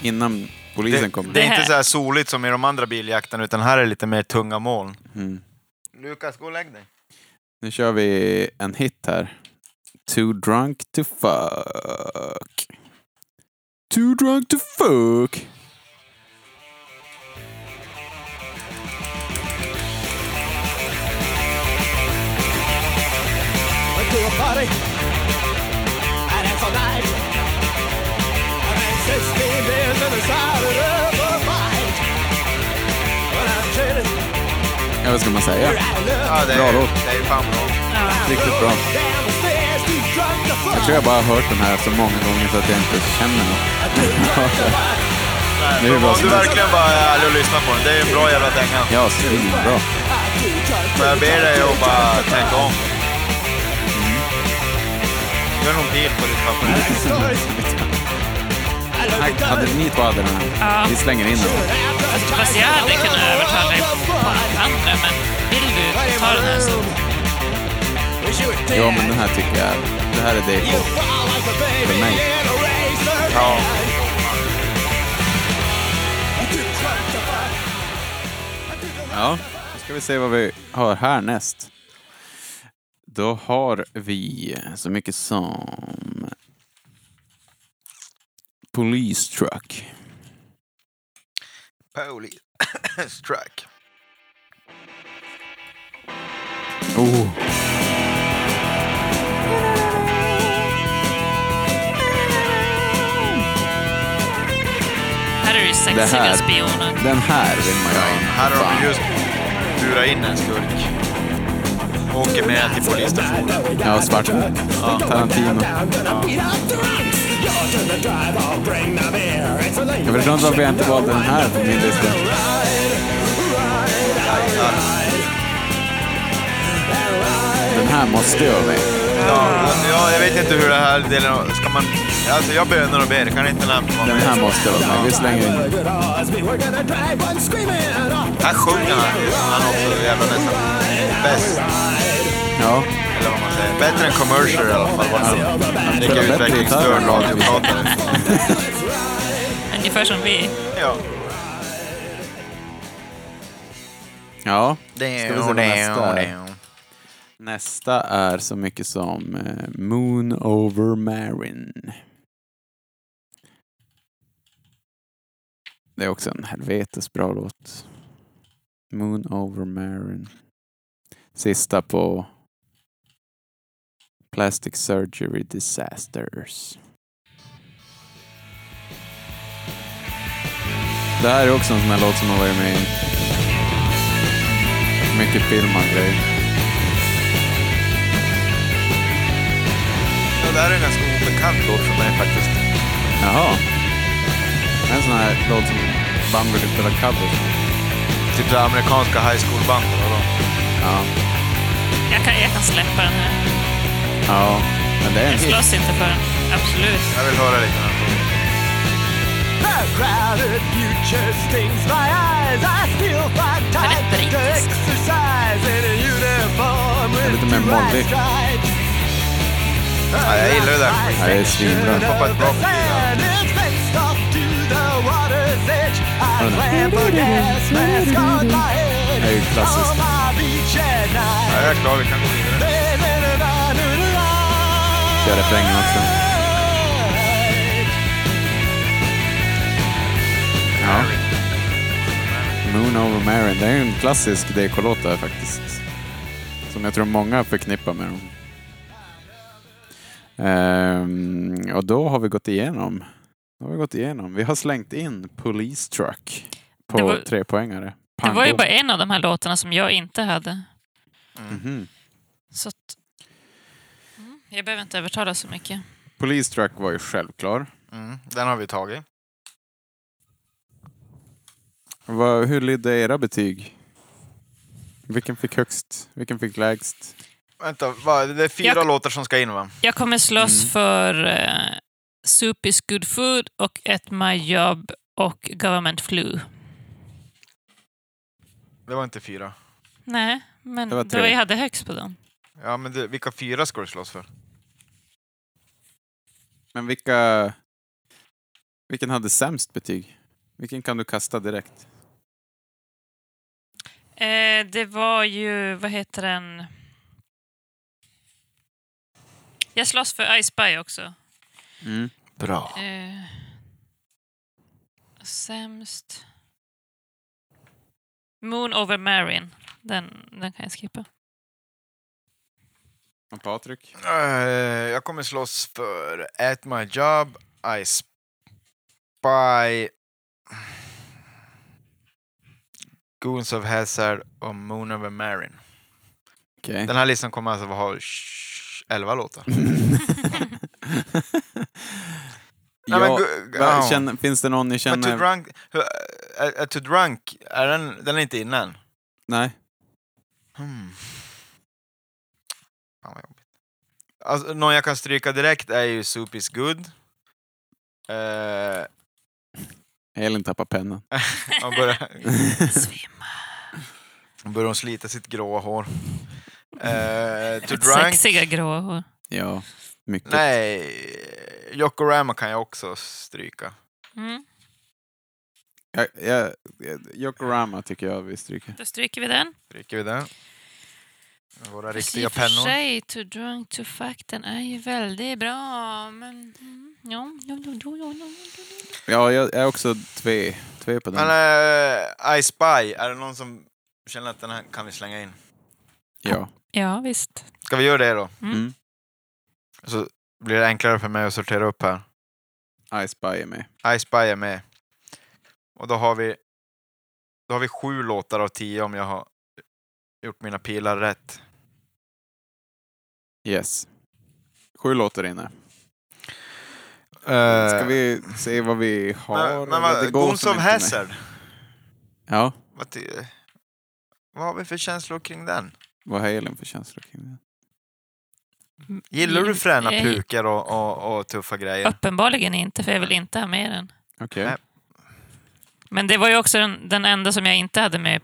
Speaker 2: Innan polisen
Speaker 1: Det,
Speaker 2: kommer.
Speaker 1: det är
Speaker 3: Det här-
Speaker 1: inte så här soligt som i de andra biljakterna, utan här är lite mer tunga moln.
Speaker 2: Mm.
Speaker 1: Lukas, gå och lägg dig.
Speaker 2: Nu kör vi en hit här. Too drunk to fuck. Too drunk to fuck.
Speaker 6: Went to a party and it's all night. I made 16 beers and I started up a fight. But I'm chilling,
Speaker 2: Ja, vad ska man säga?
Speaker 6: out of luck.
Speaker 1: Ja, det
Speaker 2: Bra
Speaker 1: är,
Speaker 2: låt.
Speaker 1: det är fan bra.
Speaker 2: Riktigt bra.
Speaker 6: Down the stairs, too drunk to
Speaker 2: Jag
Speaker 6: fuck.
Speaker 2: tror jag bara har hört den här så många gånger så att jag inte känner något. Nu är det bra
Speaker 1: Om
Speaker 2: som
Speaker 1: du
Speaker 2: helst.
Speaker 1: verkligen bara är ärlig och lyssnar på den, det är en bra jävla dänga.
Speaker 2: Ja, svinbra.
Speaker 1: Så jag ber dig att bara tänka om.
Speaker 2: Mm.
Speaker 1: Gör någon deal på ditt papper.
Speaker 2: Här- Hade ni två hade den här? Vi slänger in den.
Speaker 3: Fast jag hade kunnat övertala dig på andra, men vill du ta den här så...
Speaker 2: Ja, men den här tycker jag. Det här är DK. För mig.
Speaker 1: Ja.
Speaker 2: Ja, då ska vi se vad vi har härnäst. Då har vi så mycket som Police Truck.
Speaker 1: Pauli. Strike.
Speaker 2: Oh.
Speaker 3: Här är det ju
Speaker 2: Det här.
Speaker 3: sexiga spionen.
Speaker 2: Den här vill man ju ha.
Speaker 1: Här har de just burat in en skurk. Åker med till polisstationen.
Speaker 2: Ja, svart. Ja, Tarantino. Jag förstår inte varför jag inte valde den här på min lista. Den här måste jag ha med.
Speaker 1: Ja, ja, jag vet inte hur det här delen av- ska man... Alltså jag bönar och ber, kan inte den här vara
Speaker 2: Den
Speaker 1: med?
Speaker 2: här måste vara med. Vi slänger in den.
Speaker 1: Här sjunger han, han också jävla nästan bäst,
Speaker 2: Ja,
Speaker 1: eller vad man säger. Bättre än commercial i alla fall. Vad han Lika
Speaker 2: spelar bättre
Speaker 1: utvecklingsstörd
Speaker 2: gitarr.
Speaker 1: radiopratare.
Speaker 3: Ungefär som vi.
Speaker 1: Ja.
Speaker 2: ja.
Speaker 1: Det
Speaker 2: Ska vi se vad nästa är? Nästa är så mycket som eh, Moon over Marin. Det är också en helvetes bra låt. Moon over Marin. Sista på Plastic Surgery Disasters. Det här är också en sån här låt som har varit med i mycket film och grejer.
Speaker 1: Det där är en ganska obekant låt för mig faktiskt.
Speaker 2: Jaha. Det är en sån här låt som band brukar spela cover.
Speaker 1: Typ så här amerikanska high school-band eller vad?
Speaker 2: Ja.
Speaker 3: Jag kan, jag kan släppa den nu.
Speaker 2: Ja. Men det är en
Speaker 3: Jag
Speaker 2: hit.
Speaker 3: slåss inte för den. Absolut.
Speaker 1: Jag vill höra lite. mer.
Speaker 6: The crowded future stings my eyes. I still find
Speaker 3: är
Speaker 6: time
Speaker 3: brittisk.
Speaker 6: to exercise in a uniform
Speaker 2: är
Speaker 6: with
Speaker 2: lite mer
Speaker 6: two white
Speaker 2: mollig.
Speaker 6: stripes.
Speaker 1: Ja, jag gillar ju den.
Speaker 2: Ja, det är svinbra.
Speaker 1: Hoppa ett bra
Speaker 6: And it's faced off to the water's edge. I
Speaker 2: Hold on.
Speaker 6: clamp a gas mask on my head.
Speaker 2: Hey, classes.
Speaker 6: On my beach at
Speaker 1: Ja,
Speaker 6: night.
Speaker 1: jag är klar, vi kan gå vidare.
Speaker 6: Living an honored life.
Speaker 2: Kör refrängen också. Ja. Moon over Marin. Det är ju en klassisk DK-låt där faktiskt. Som jag tror många förknippar med dem. Ehm, och då har vi gått igenom. Då har vi gått igenom. Vi har slängt in Police Truck
Speaker 3: Det
Speaker 2: på
Speaker 3: var-
Speaker 2: trepoängare.
Speaker 3: Det var ju
Speaker 2: Pango.
Speaker 3: bara en av de här låtarna som jag inte hade.
Speaker 2: Mhm.
Speaker 3: Så att... mm, jag behöver inte övertala så mycket.
Speaker 2: Police Truck var ju självklar.
Speaker 1: Mm, den har vi tagit.
Speaker 2: Vad, hur lydde era betyg? Vilken fick högst? Vilken fick lägst?
Speaker 1: Vänta, va, det är fyra
Speaker 3: Jag-
Speaker 1: låtar som ska in va?
Speaker 3: Jag kommer slåss
Speaker 2: Mm.
Speaker 3: för eh, Soup is good food och At my job och Government flu.
Speaker 1: Det var inte fyra.
Speaker 3: Nej, men
Speaker 2: Det var
Speaker 3: det
Speaker 2: tre.
Speaker 3: var jag hade högst på den.
Speaker 1: Ja, men det, vilka fyra ska du slåss för?
Speaker 2: Men vilka... Vilken hade sämst betyg? Vilken kan du kasta direkt?
Speaker 3: Eh, det var ju, vad heter den? Jag slåss för Ice Spy också.
Speaker 1: Mm. Bra.
Speaker 3: Eh, sämst. Moon over Marin. Den, den kan jag skippa.
Speaker 2: Och Patrik?
Speaker 1: Eh, jag kommer slåss för At My Job, I Spy, Goons of Hazard och Moon Over Marin.
Speaker 2: Okej.
Speaker 1: Den här listan kommer alltså ha sh- elva låtar.
Speaker 2: ja,
Speaker 1: men gu-
Speaker 2: vad
Speaker 1: ja.
Speaker 2: känner, finns det någon ni
Speaker 1: Men typ Too
Speaker 2: känner...
Speaker 1: Drunk, hur- är, är Too Drunk, är den, den är inte inne än?
Speaker 2: Nej.
Speaker 1: Hmm. Fan vad jobbigt. Alltså, någon jag kan stryka direkt är ju Soup is good. Eh,
Speaker 2: Elin tappar pennan.
Speaker 1: hon börjar,
Speaker 3: Svimma.
Speaker 1: hon börjar hon slita sitt gråa hår. Eh, too
Speaker 3: Ett
Speaker 1: drunk.
Speaker 3: sexiga grå hår.
Speaker 2: Ja, mycket.
Speaker 1: Nej, Yokorama kan jag också stryka.
Speaker 3: Mm,
Speaker 2: Jag, jag, jag, Yokorama tycker jag vi stryker.
Speaker 3: då stryker vi den.
Speaker 1: Stryker vi den? Våra
Speaker 3: I
Speaker 1: riktiga
Speaker 3: och för
Speaker 1: pennor.
Speaker 3: sig, Too drunk to fuck, den är ju väldigt bra. Men, mm, ja, jo, jo, jo, jo, jo, jo.
Speaker 2: Ja, jag är också tve, tve på den.
Speaker 1: Men eh, I Spy, är det någon som känner att den här kan vi slänga in?
Speaker 2: ja.
Speaker 3: ja, visst.
Speaker 1: Ska vi göra det då?
Speaker 3: Mm.
Speaker 2: Mm.
Speaker 1: Så blir det enklare för mig att sortera upp här.
Speaker 2: I Spy är med.
Speaker 1: I Spy är med. Och då har vi då har vi sju låtar av tio om jag har gjort mina pilar rätt.
Speaker 2: Yes. Sju låtar inne.
Speaker 1: Eh,
Speaker 2: Ska vi se vad vi har?
Speaker 1: men men
Speaker 2: eller?
Speaker 1: vad, Guns
Speaker 2: som inte
Speaker 1: of
Speaker 2: med.
Speaker 1: Hazard,
Speaker 2: Ja,
Speaker 1: vad, ty- vad har vi för känslor kring den?
Speaker 2: vad har Elin för känslor kring det?
Speaker 1: Gillar
Speaker 3: Mm.
Speaker 1: du fräna
Speaker 3: Nej.
Speaker 1: pukar och, och, och tuffa grejer?
Speaker 3: Uppenbarligen inte, för jag vill inte ha med den.
Speaker 2: Okej.
Speaker 1: Nej.
Speaker 3: Men det var ju också den, den enda som jag inte hade med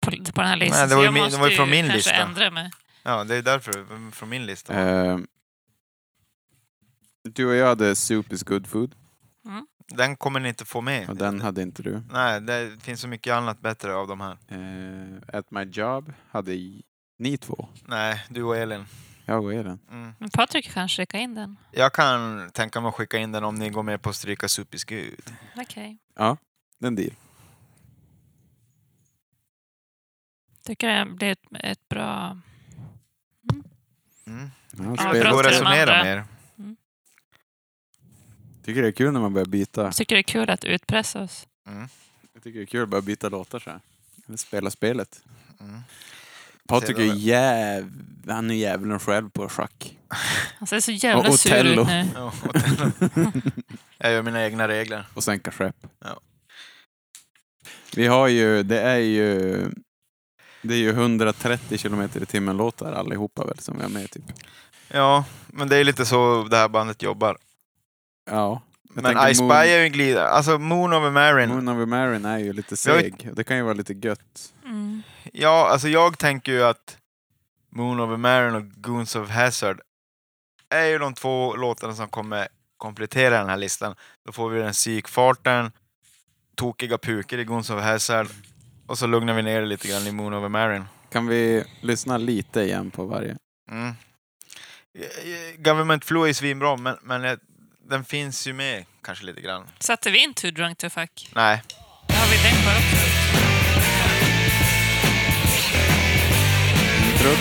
Speaker 3: på, på den här listan.
Speaker 1: Nej, det
Speaker 3: så
Speaker 1: var ju
Speaker 3: jag
Speaker 1: min- det
Speaker 3: måste
Speaker 1: var ju från min
Speaker 3: kanske
Speaker 1: lista.
Speaker 3: ändra mig.
Speaker 1: Ja, det är därför, mm, från min lista.
Speaker 2: Eh, du och jag hade Soup is good food
Speaker 3: Mm.
Speaker 1: Den kommer ni inte få med.
Speaker 2: och den hade inte du.
Speaker 1: Nej, det finns så mycket annat bättre av de här.
Speaker 2: Eh, at my job hade i- ni två.
Speaker 1: Nej, du och Elin.
Speaker 2: Jag och Elin.
Speaker 1: Mm.
Speaker 3: Men Patrik kan skicka in den.
Speaker 1: Jag kan tänka mig att skicka in den om ni går med på att stryka Supis Gud.
Speaker 3: Okej.
Speaker 2: Den deal.
Speaker 3: Tycker det blev ett, ett bra...
Speaker 1: Mm.
Speaker 2: Ja,
Speaker 3: Ja,
Speaker 1: Det
Speaker 2: spel-
Speaker 1: går
Speaker 3: till de
Speaker 1: att resonera
Speaker 3: andra.
Speaker 1: mer.
Speaker 2: Tycker det är kul när man börjar byta.
Speaker 3: Tycker det är kul att utpressa oss.
Speaker 1: Mm.
Speaker 2: Jag tycker det är kul att börja byta låtar så här. Eller spela spelet.
Speaker 1: Mm.
Speaker 2: Patrik är
Speaker 1: Ser du det?
Speaker 2: jäv... Han är djävulen själv på schack.
Speaker 3: Han ser så jävla
Speaker 2: Och
Speaker 3: sur
Speaker 2: Otello.
Speaker 3: ut nu.
Speaker 1: Ja, och den- jag gör mina egna regler.
Speaker 2: Och sänka skepp.
Speaker 1: Ja.
Speaker 2: Vi har ju, det är ju... Det är ju 130 kilometer i timmen låtar allihopa väl som vi har med typ.
Speaker 1: Ja, men det är lite så det här bandet jobbar.
Speaker 2: Ja. Jag tänker
Speaker 1: men I Spy är ju en glida. Alltså Moon Over Marin.
Speaker 2: Moon, Moon Over Marin är ju lite
Speaker 1: Vi har ju-
Speaker 2: seg. Det kan ju vara lite gött.
Speaker 3: Mm.
Speaker 1: Ja, alltså jag tänker ju att Moon Over Marin och Goons of Hazard är ju de två låtarna som kommer komplettera den här listan. Då får vi den psykfarten, tokiga puker i Goons of Hazard och så lugnar vi ner det lite grann i Moon Over Marin.
Speaker 2: Kan vi lyssna lite igen på varje?
Speaker 1: Mm. Eh, Government Flu är ju svinbra, men, men eh, den finns ju med kanske lite grann.
Speaker 3: Satte vi in Too drunk to fuck?
Speaker 1: Nej.
Speaker 3: Då har vi den kvar också.
Speaker 2: Trupp.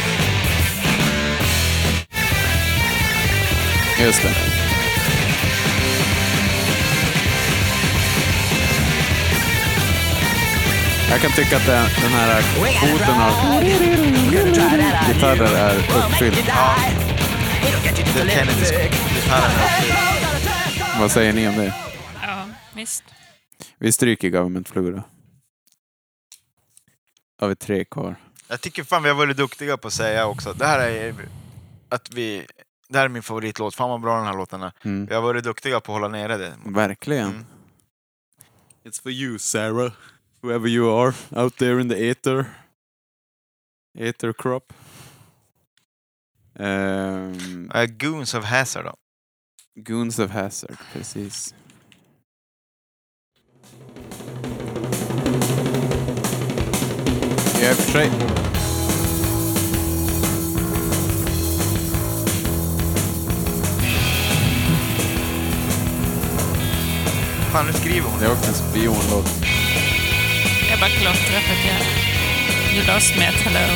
Speaker 2: Just det. Jag kan tycka att den, den här kvoten av gitarrer är uppfylld.
Speaker 1: Det Kennedys gitarren.
Speaker 2: Vad säger ni om det?
Speaker 3: Ja, visst.
Speaker 2: Vi stryker Government Flu då. Har vi tre kvar.
Speaker 1: Jag tycker fan vi har varit duktiga på att säga också. Det här är att vi... Det här är min favoritlåt. Fan vad bra den här låten är.
Speaker 2: Mm.
Speaker 1: Vi har varit duktiga på att hålla nere det.
Speaker 2: Verkligen.
Speaker 1: Mm.
Speaker 2: It's for you, Sarah. Whoever you are, out there in the ether. Ether crop. Ehm,
Speaker 1: Eh, Goons of Hazard då.
Speaker 2: Goons of Hazard, precis. Ja, i och för sig.
Speaker 1: Fan, nu skriver hon.
Speaker 2: Det är också en spionlåt.
Speaker 3: Jag bara klottrar för att jag... You lost me at hello.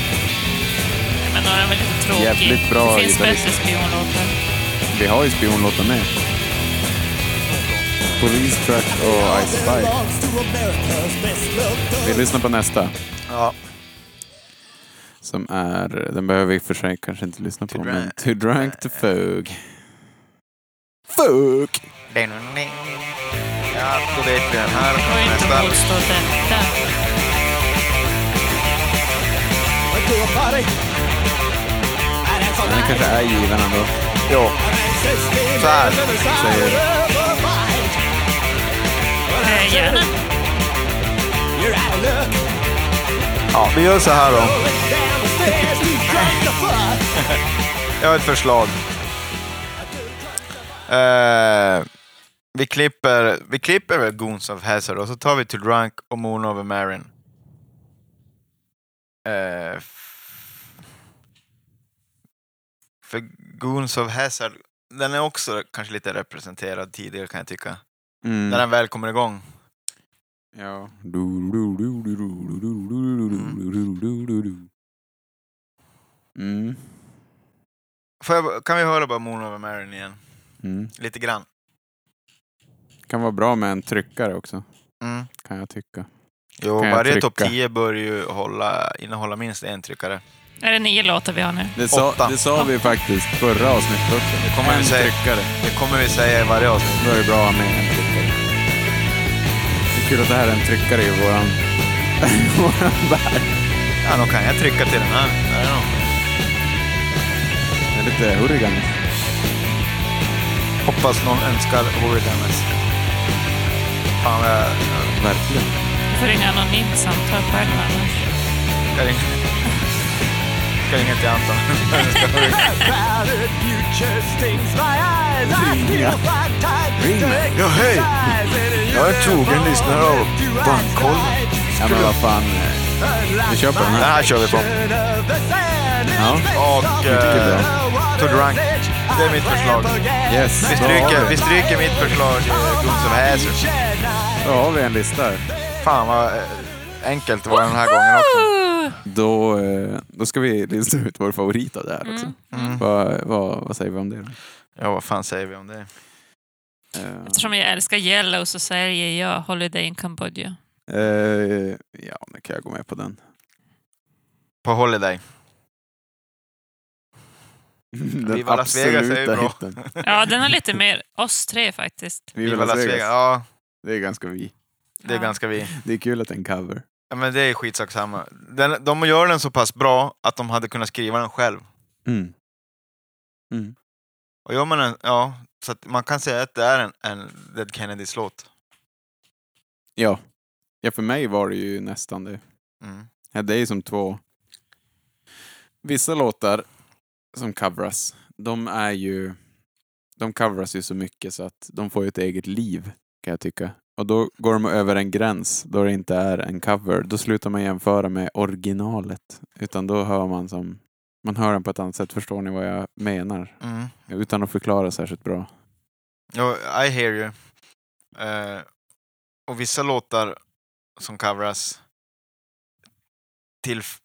Speaker 3: Nej, Men några var lite tråkig.
Speaker 2: Jävligt bra
Speaker 3: Det finns
Speaker 2: gitarrist.
Speaker 3: bättre spionlåtar.
Speaker 2: Vi har ju spionlåtar med. Police Track och I Spy. Vi lyssnar på nästa.
Speaker 1: Ja.
Speaker 2: Som är, den behöver vi i och för sig kanske inte lyssna på,
Speaker 1: Too
Speaker 2: men
Speaker 1: drunk.
Speaker 2: Too Drunk
Speaker 1: Eh,
Speaker 2: to Fug. Fug!
Speaker 1: Ja, då vet vi den.
Speaker 3: Det
Speaker 1: Här
Speaker 3: går ju
Speaker 1: kommer
Speaker 3: inte att
Speaker 1: nästa.
Speaker 3: motstå detta.
Speaker 2: Den kanske är given ändå.
Speaker 1: Jo. Så här.
Speaker 2: Säger,
Speaker 3: Eh, gärna.
Speaker 1: Ja, vi gör så här då. Jag har ett förslag. Eh, vi, klipper, vi klipper väl Goons of Hazard och så tar vi To Drunk och Moon Over Marin. Eh, f- för Goons of Hazard, den är också kanske lite representerad tidigare kan jag tycka. När
Speaker 2: mm.
Speaker 1: den väl kommer igång.
Speaker 2: Ja. Mm.
Speaker 1: Får jag, kan vi höra bara Moon Over Marin igen?
Speaker 2: Mm.
Speaker 1: Lite grann.
Speaker 2: Kan vara bra med en tryckare också,
Speaker 1: Mm.
Speaker 2: kan jag tycka.
Speaker 1: Jo,
Speaker 2: Kan jag
Speaker 1: varje
Speaker 2: trycka?
Speaker 1: topp 10 bör ju hålla, innehålla minst en tryckare.
Speaker 3: Är det nio låtar vi har nu?
Speaker 2: Det sa,
Speaker 1: Åtta.
Speaker 2: det sa vi faktiskt förra avsnittet också. Det
Speaker 1: kommer
Speaker 2: en
Speaker 1: vi säga.
Speaker 2: tryckare.
Speaker 1: Det kommer vi säga i varje avsnitt.
Speaker 2: Då är det bra med en tryckare. Vi Kul att det här är en tryckare i våran, våran värld.
Speaker 1: Ja, då kan jag trycka till den här. Där är de.
Speaker 2: Det är lite hurrigan.
Speaker 1: Hoppas någon önskar Hooligans. Fan, vad jag...
Speaker 2: Verkligen.
Speaker 3: För inga anonymt samtal själv annars.
Speaker 1: Jag ringer, jag ringer till Anton.
Speaker 6: A crowded future stings my eyes. I feel my time.
Speaker 1: Ja, hej.
Speaker 6: Jag är
Speaker 1: trogen lyssnare av Bandkollen.
Speaker 2: Ja, men vad fan. eh, Vi kör på den
Speaker 1: Den
Speaker 2: här.
Speaker 1: här kör vi på.
Speaker 2: Ja.
Speaker 1: Och
Speaker 2: Mycket
Speaker 1: eh,
Speaker 2: bra.
Speaker 1: To Drunk. Det är mitt förslag.
Speaker 2: Yes.
Speaker 1: Vi
Speaker 2: då har
Speaker 1: stryker,
Speaker 2: vi-
Speaker 1: vi stryker mitt förslag, eh, Guns of Hazard.
Speaker 2: Då har vi en lista här.
Speaker 1: Fan vad eh, enkelt det var den här gången också.
Speaker 3: Woo!
Speaker 2: Då, eh, då ska vi lista ut vår favorit av det här
Speaker 3: Mm.
Speaker 2: också. Vad, vad, vad säger vi om det? då?
Speaker 1: Mm. Ja, vad fan säger vi om det?
Speaker 2: Eh,
Speaker 3: Eftersom jag älskar Yellow så säger jag Holiday in Cambodia.
Speaker 2: eh, ja, nu kan jag gå med på den.
Speaker 1: På Holiday.
Speaker 2: den
Speaker 1: Viva Las Vegas är ju
Speaker 2: absoluta
Speaker 1: bra.
Speaker 2: hitten.
Speaker 3: Ja, den har lite mer oss tre faktiskt.
Speaker 2: Viva Las Vegas.
Speaker 1: Ja,
Speaker 2: Det är ganska vi.
Speaker 1: det är
Speaker 3: Ja.
Speaker 1: ganska vi.
Speaker 2: Det är kul att det är en cover.
Speaker 1: Ja, men det är skitsak samma. Den, de gör den så pass bra att de hade kunnat skriva den själv.
Speaker 2: Mm. Mm.
Speaker 1: Och gör man den, ja, så att man kan säga att det är en, en Dead Kennedys låt.
Speaker 2: Ja. ja, för mig var det ju nästan det.
Speaker 1: Mm.
Speaker 2: Ja, det är ju som två... Vissa låtar som coveras, de är ju... De coveras ju så mycket så att de får ju ett eget liv, kan jag tycka. Och då går de över en gräns då det inte är en cover. Då slutar man jämföra med originalet. Utan då hör man som... Man hör den på ett annat sätt. Förstår ni vad jag menar?
Speaker 1: Mm.
Speaker 2: Utan att förklara särskilt bra.
Speaker 1: Jo, I hear you. Eh, och vissa låtar som coveras tillf-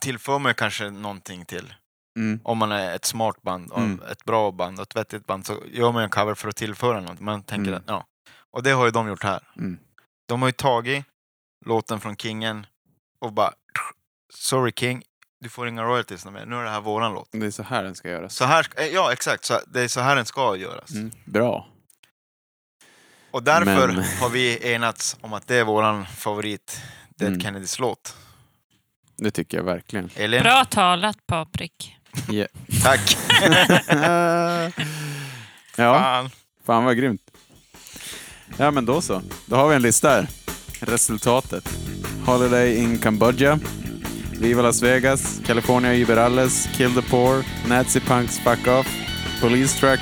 Speaker 1: tillför man ju kanske någonting till.
Speaker 2: Mm.
Speaker 1: Om man är ett smart band, och
Speaker 2: Mm.
Speaker 1: ett bra band och ett vettigt band så gör man ju en cover för att tillföra något. Man tänker
Speaker 2: Mm.
Speaker 1: att, ja. Och det har ju de gjort här.
Speaker 2: Mm.
Speaker 1: De har ju tagit låten från Kingen och bara Sorry King, du får inga royalties nu mer. Nu är det här våran låt.
Speaker 2: Det är så här den ska göras.
Speaker 1: Så här, ska- eh, ja exakt, så det är så här den ska göras.
Speaker 2: Mm. Bra.
Speaker 1: Och därför
Speaker 2: Men-
Speaker 1: har vi enats om att det är våran favorit Dead
Speaker 2: Mm.
Speaker 1: Kennedys låt.
Speaker 2: Det tycker jag verkligen.
Speaker 1: Elin,
Speaker 3: Bra talat Patrik.
Speaker 1: tack!
Speaker 2: ja.
Speaker 1: Fan.
Speaker 2: Fan vad grymt. Ja men då så. Då har vi en lista här. Resultatet. Holiday in Cambodia. Viva Las Vegas. California Überalles. Kill the Poor. Nazi Punks Fuck Off. Police Truck.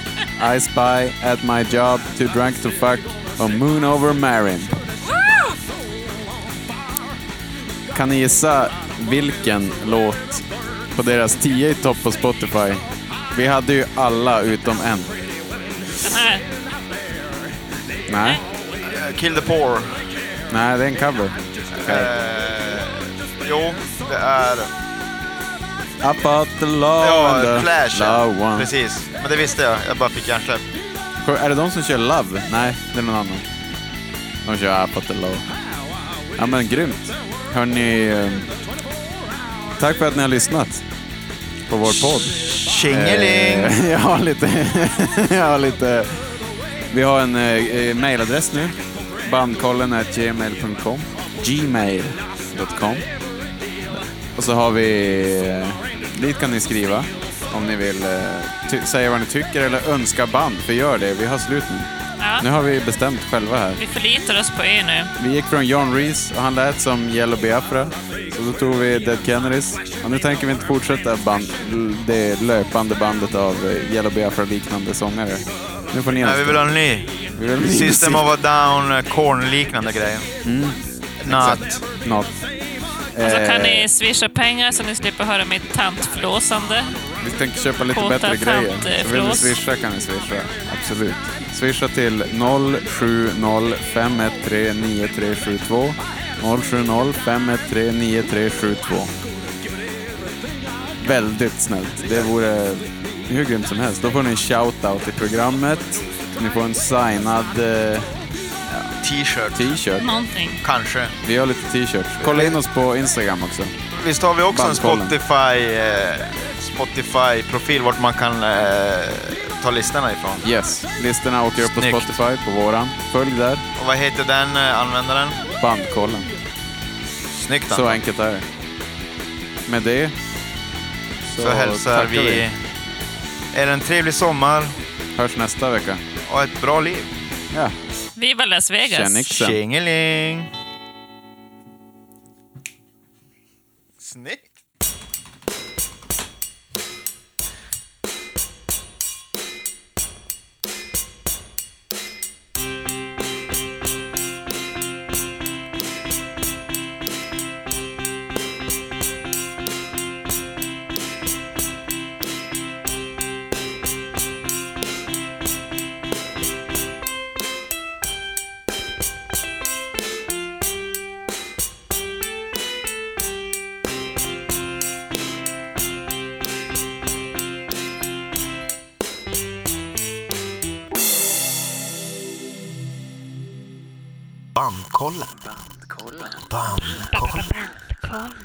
Speaker 2: I Spy. At My Job. Too Drunk to Fuck. Och Moon Over Marin. Kan ni gissa vilken låt på deras 10 i topp på Spotify? Vi hade ju alla utom en.
Speaker 3: Den här.
Speaker 2: Nej.
Speaker 1: Eh, Kill the Poor.
Speaker 2: Nej, det är en cover.
Speaker 1: Eh, jo, det är...
Speaker 2: About the law and
Speaker 1: Ja,
Speaker 2: the
Speaker 1: Clash.
Speaker 2: low
Speaker 1: Ja.
Speaker 2: one.
Speaker 1: Precis. Men det visste jag. Jag bara fick hjärnsläpp.
Speaker 2: Är det de som kör Love? Nej, det är någon annan. De kör About the law. Ja, men grymt. Hörni, eh, tack för att ni har lyssnat på vår podd.
Speaker 1: Tjingeling!
Speaker 2: Eh, Jag har lite... Jag har lite... Vi har en eh, eh, mailadress nu. Bandkollen at gmail.com. Gmail.com. Och så har vi... eh, Dit kan ni skriva om ni vill eh, ty- säga vad ni tycker eller önska band, för gör det. Vi har slut nu. Nu
Speaker 3: Ja,
Speaker 2: har vi bestämt själva här.
Speaker 3: vi förlitar oss på er nu.
Speaker 2: Vi gick från John Reese och han lät som Yellow Biafra. Så då tog vi Dead Kennedys. Och nu tänker vi inte fortsätta band, det löpande bandet av eh, Yellow Biafra-liknande sångare. Nu får ni
Speaker 1: Nej, Eh, vi
Speaker 2: önska.
Speaker 1: vill ha en ny.
Speaker 2: Vi vill ha ny
Speaker 1: System
Speaker 2: musik.
Speaker 1: of a Down, eh, Korn-liknande grejer.
Speaker 2: Mm.
Speaker 1: Natt.
Speaker 2: Något.
Speaker 3: Och så Alltså, kan
Speaker 2: Eh,
Speaker 3: ni swisha pengar så ni slipper höra mitt tantflåsande.
Speaker 2: Vi tänker köpa lite
Speaker 3: Kåta
Speaker 2: bättre
Speaker 3: tant,
Speaker 2: grejer.
Speaker 3: eh,
Speaker 2: Så vill ni
Speaker 3: flås.
Speaker 2: swisha kan ni swisha. Absolut. Swisha till 070 513 9372. 070 513 9372. Väldigt snällt. Det vore hur grymt som helst. Då får ni en shout-out i programmet. Ni får en signad eh,
Speaker 1: T-shirt.
Speaker 2: t-shirt.
Speaker 3: Någonting.
Speaker 1: Kanske.
Speaker 2: Vi har lite t-shirts. Kolla in oss på Instagram också.
Speaker 1: Visst har vi också en
Speaker 2: Bandkollen.
Speaker 1: Spotify... Eh, s- Spotify-profil vart man kan eh, ta listorna ifrån.
Speaker 2: Yes, listorna åker upp på
Speaker 1: Snyggt.
Speaker 2: Spotify på våran. Följ där,
Speaker 1: Och vad heter den eh, användaren?
Speaker 2: bandkollen.
Speaker 1: Snyggt
Speaker 2: Så
Speaker 1: Anton.
Speaker 2: enkelt är det. Med det
Speaker 1: Så, hälsar
Speaker 2: tackar
Speaker 1: vi. er en trevlig sommar
Speaker 2: Hörs nästa vecka.
Speaker 1: och ett bra liv.
Speaker 2: Ja,
Speaker 3: Viva Las Vegas!
Speaker 2: tjenixen.
Speaker 1: Tjingeling! Snyggt!
Speaker 4: Bandkollen. Bandkollen. Bandkollen.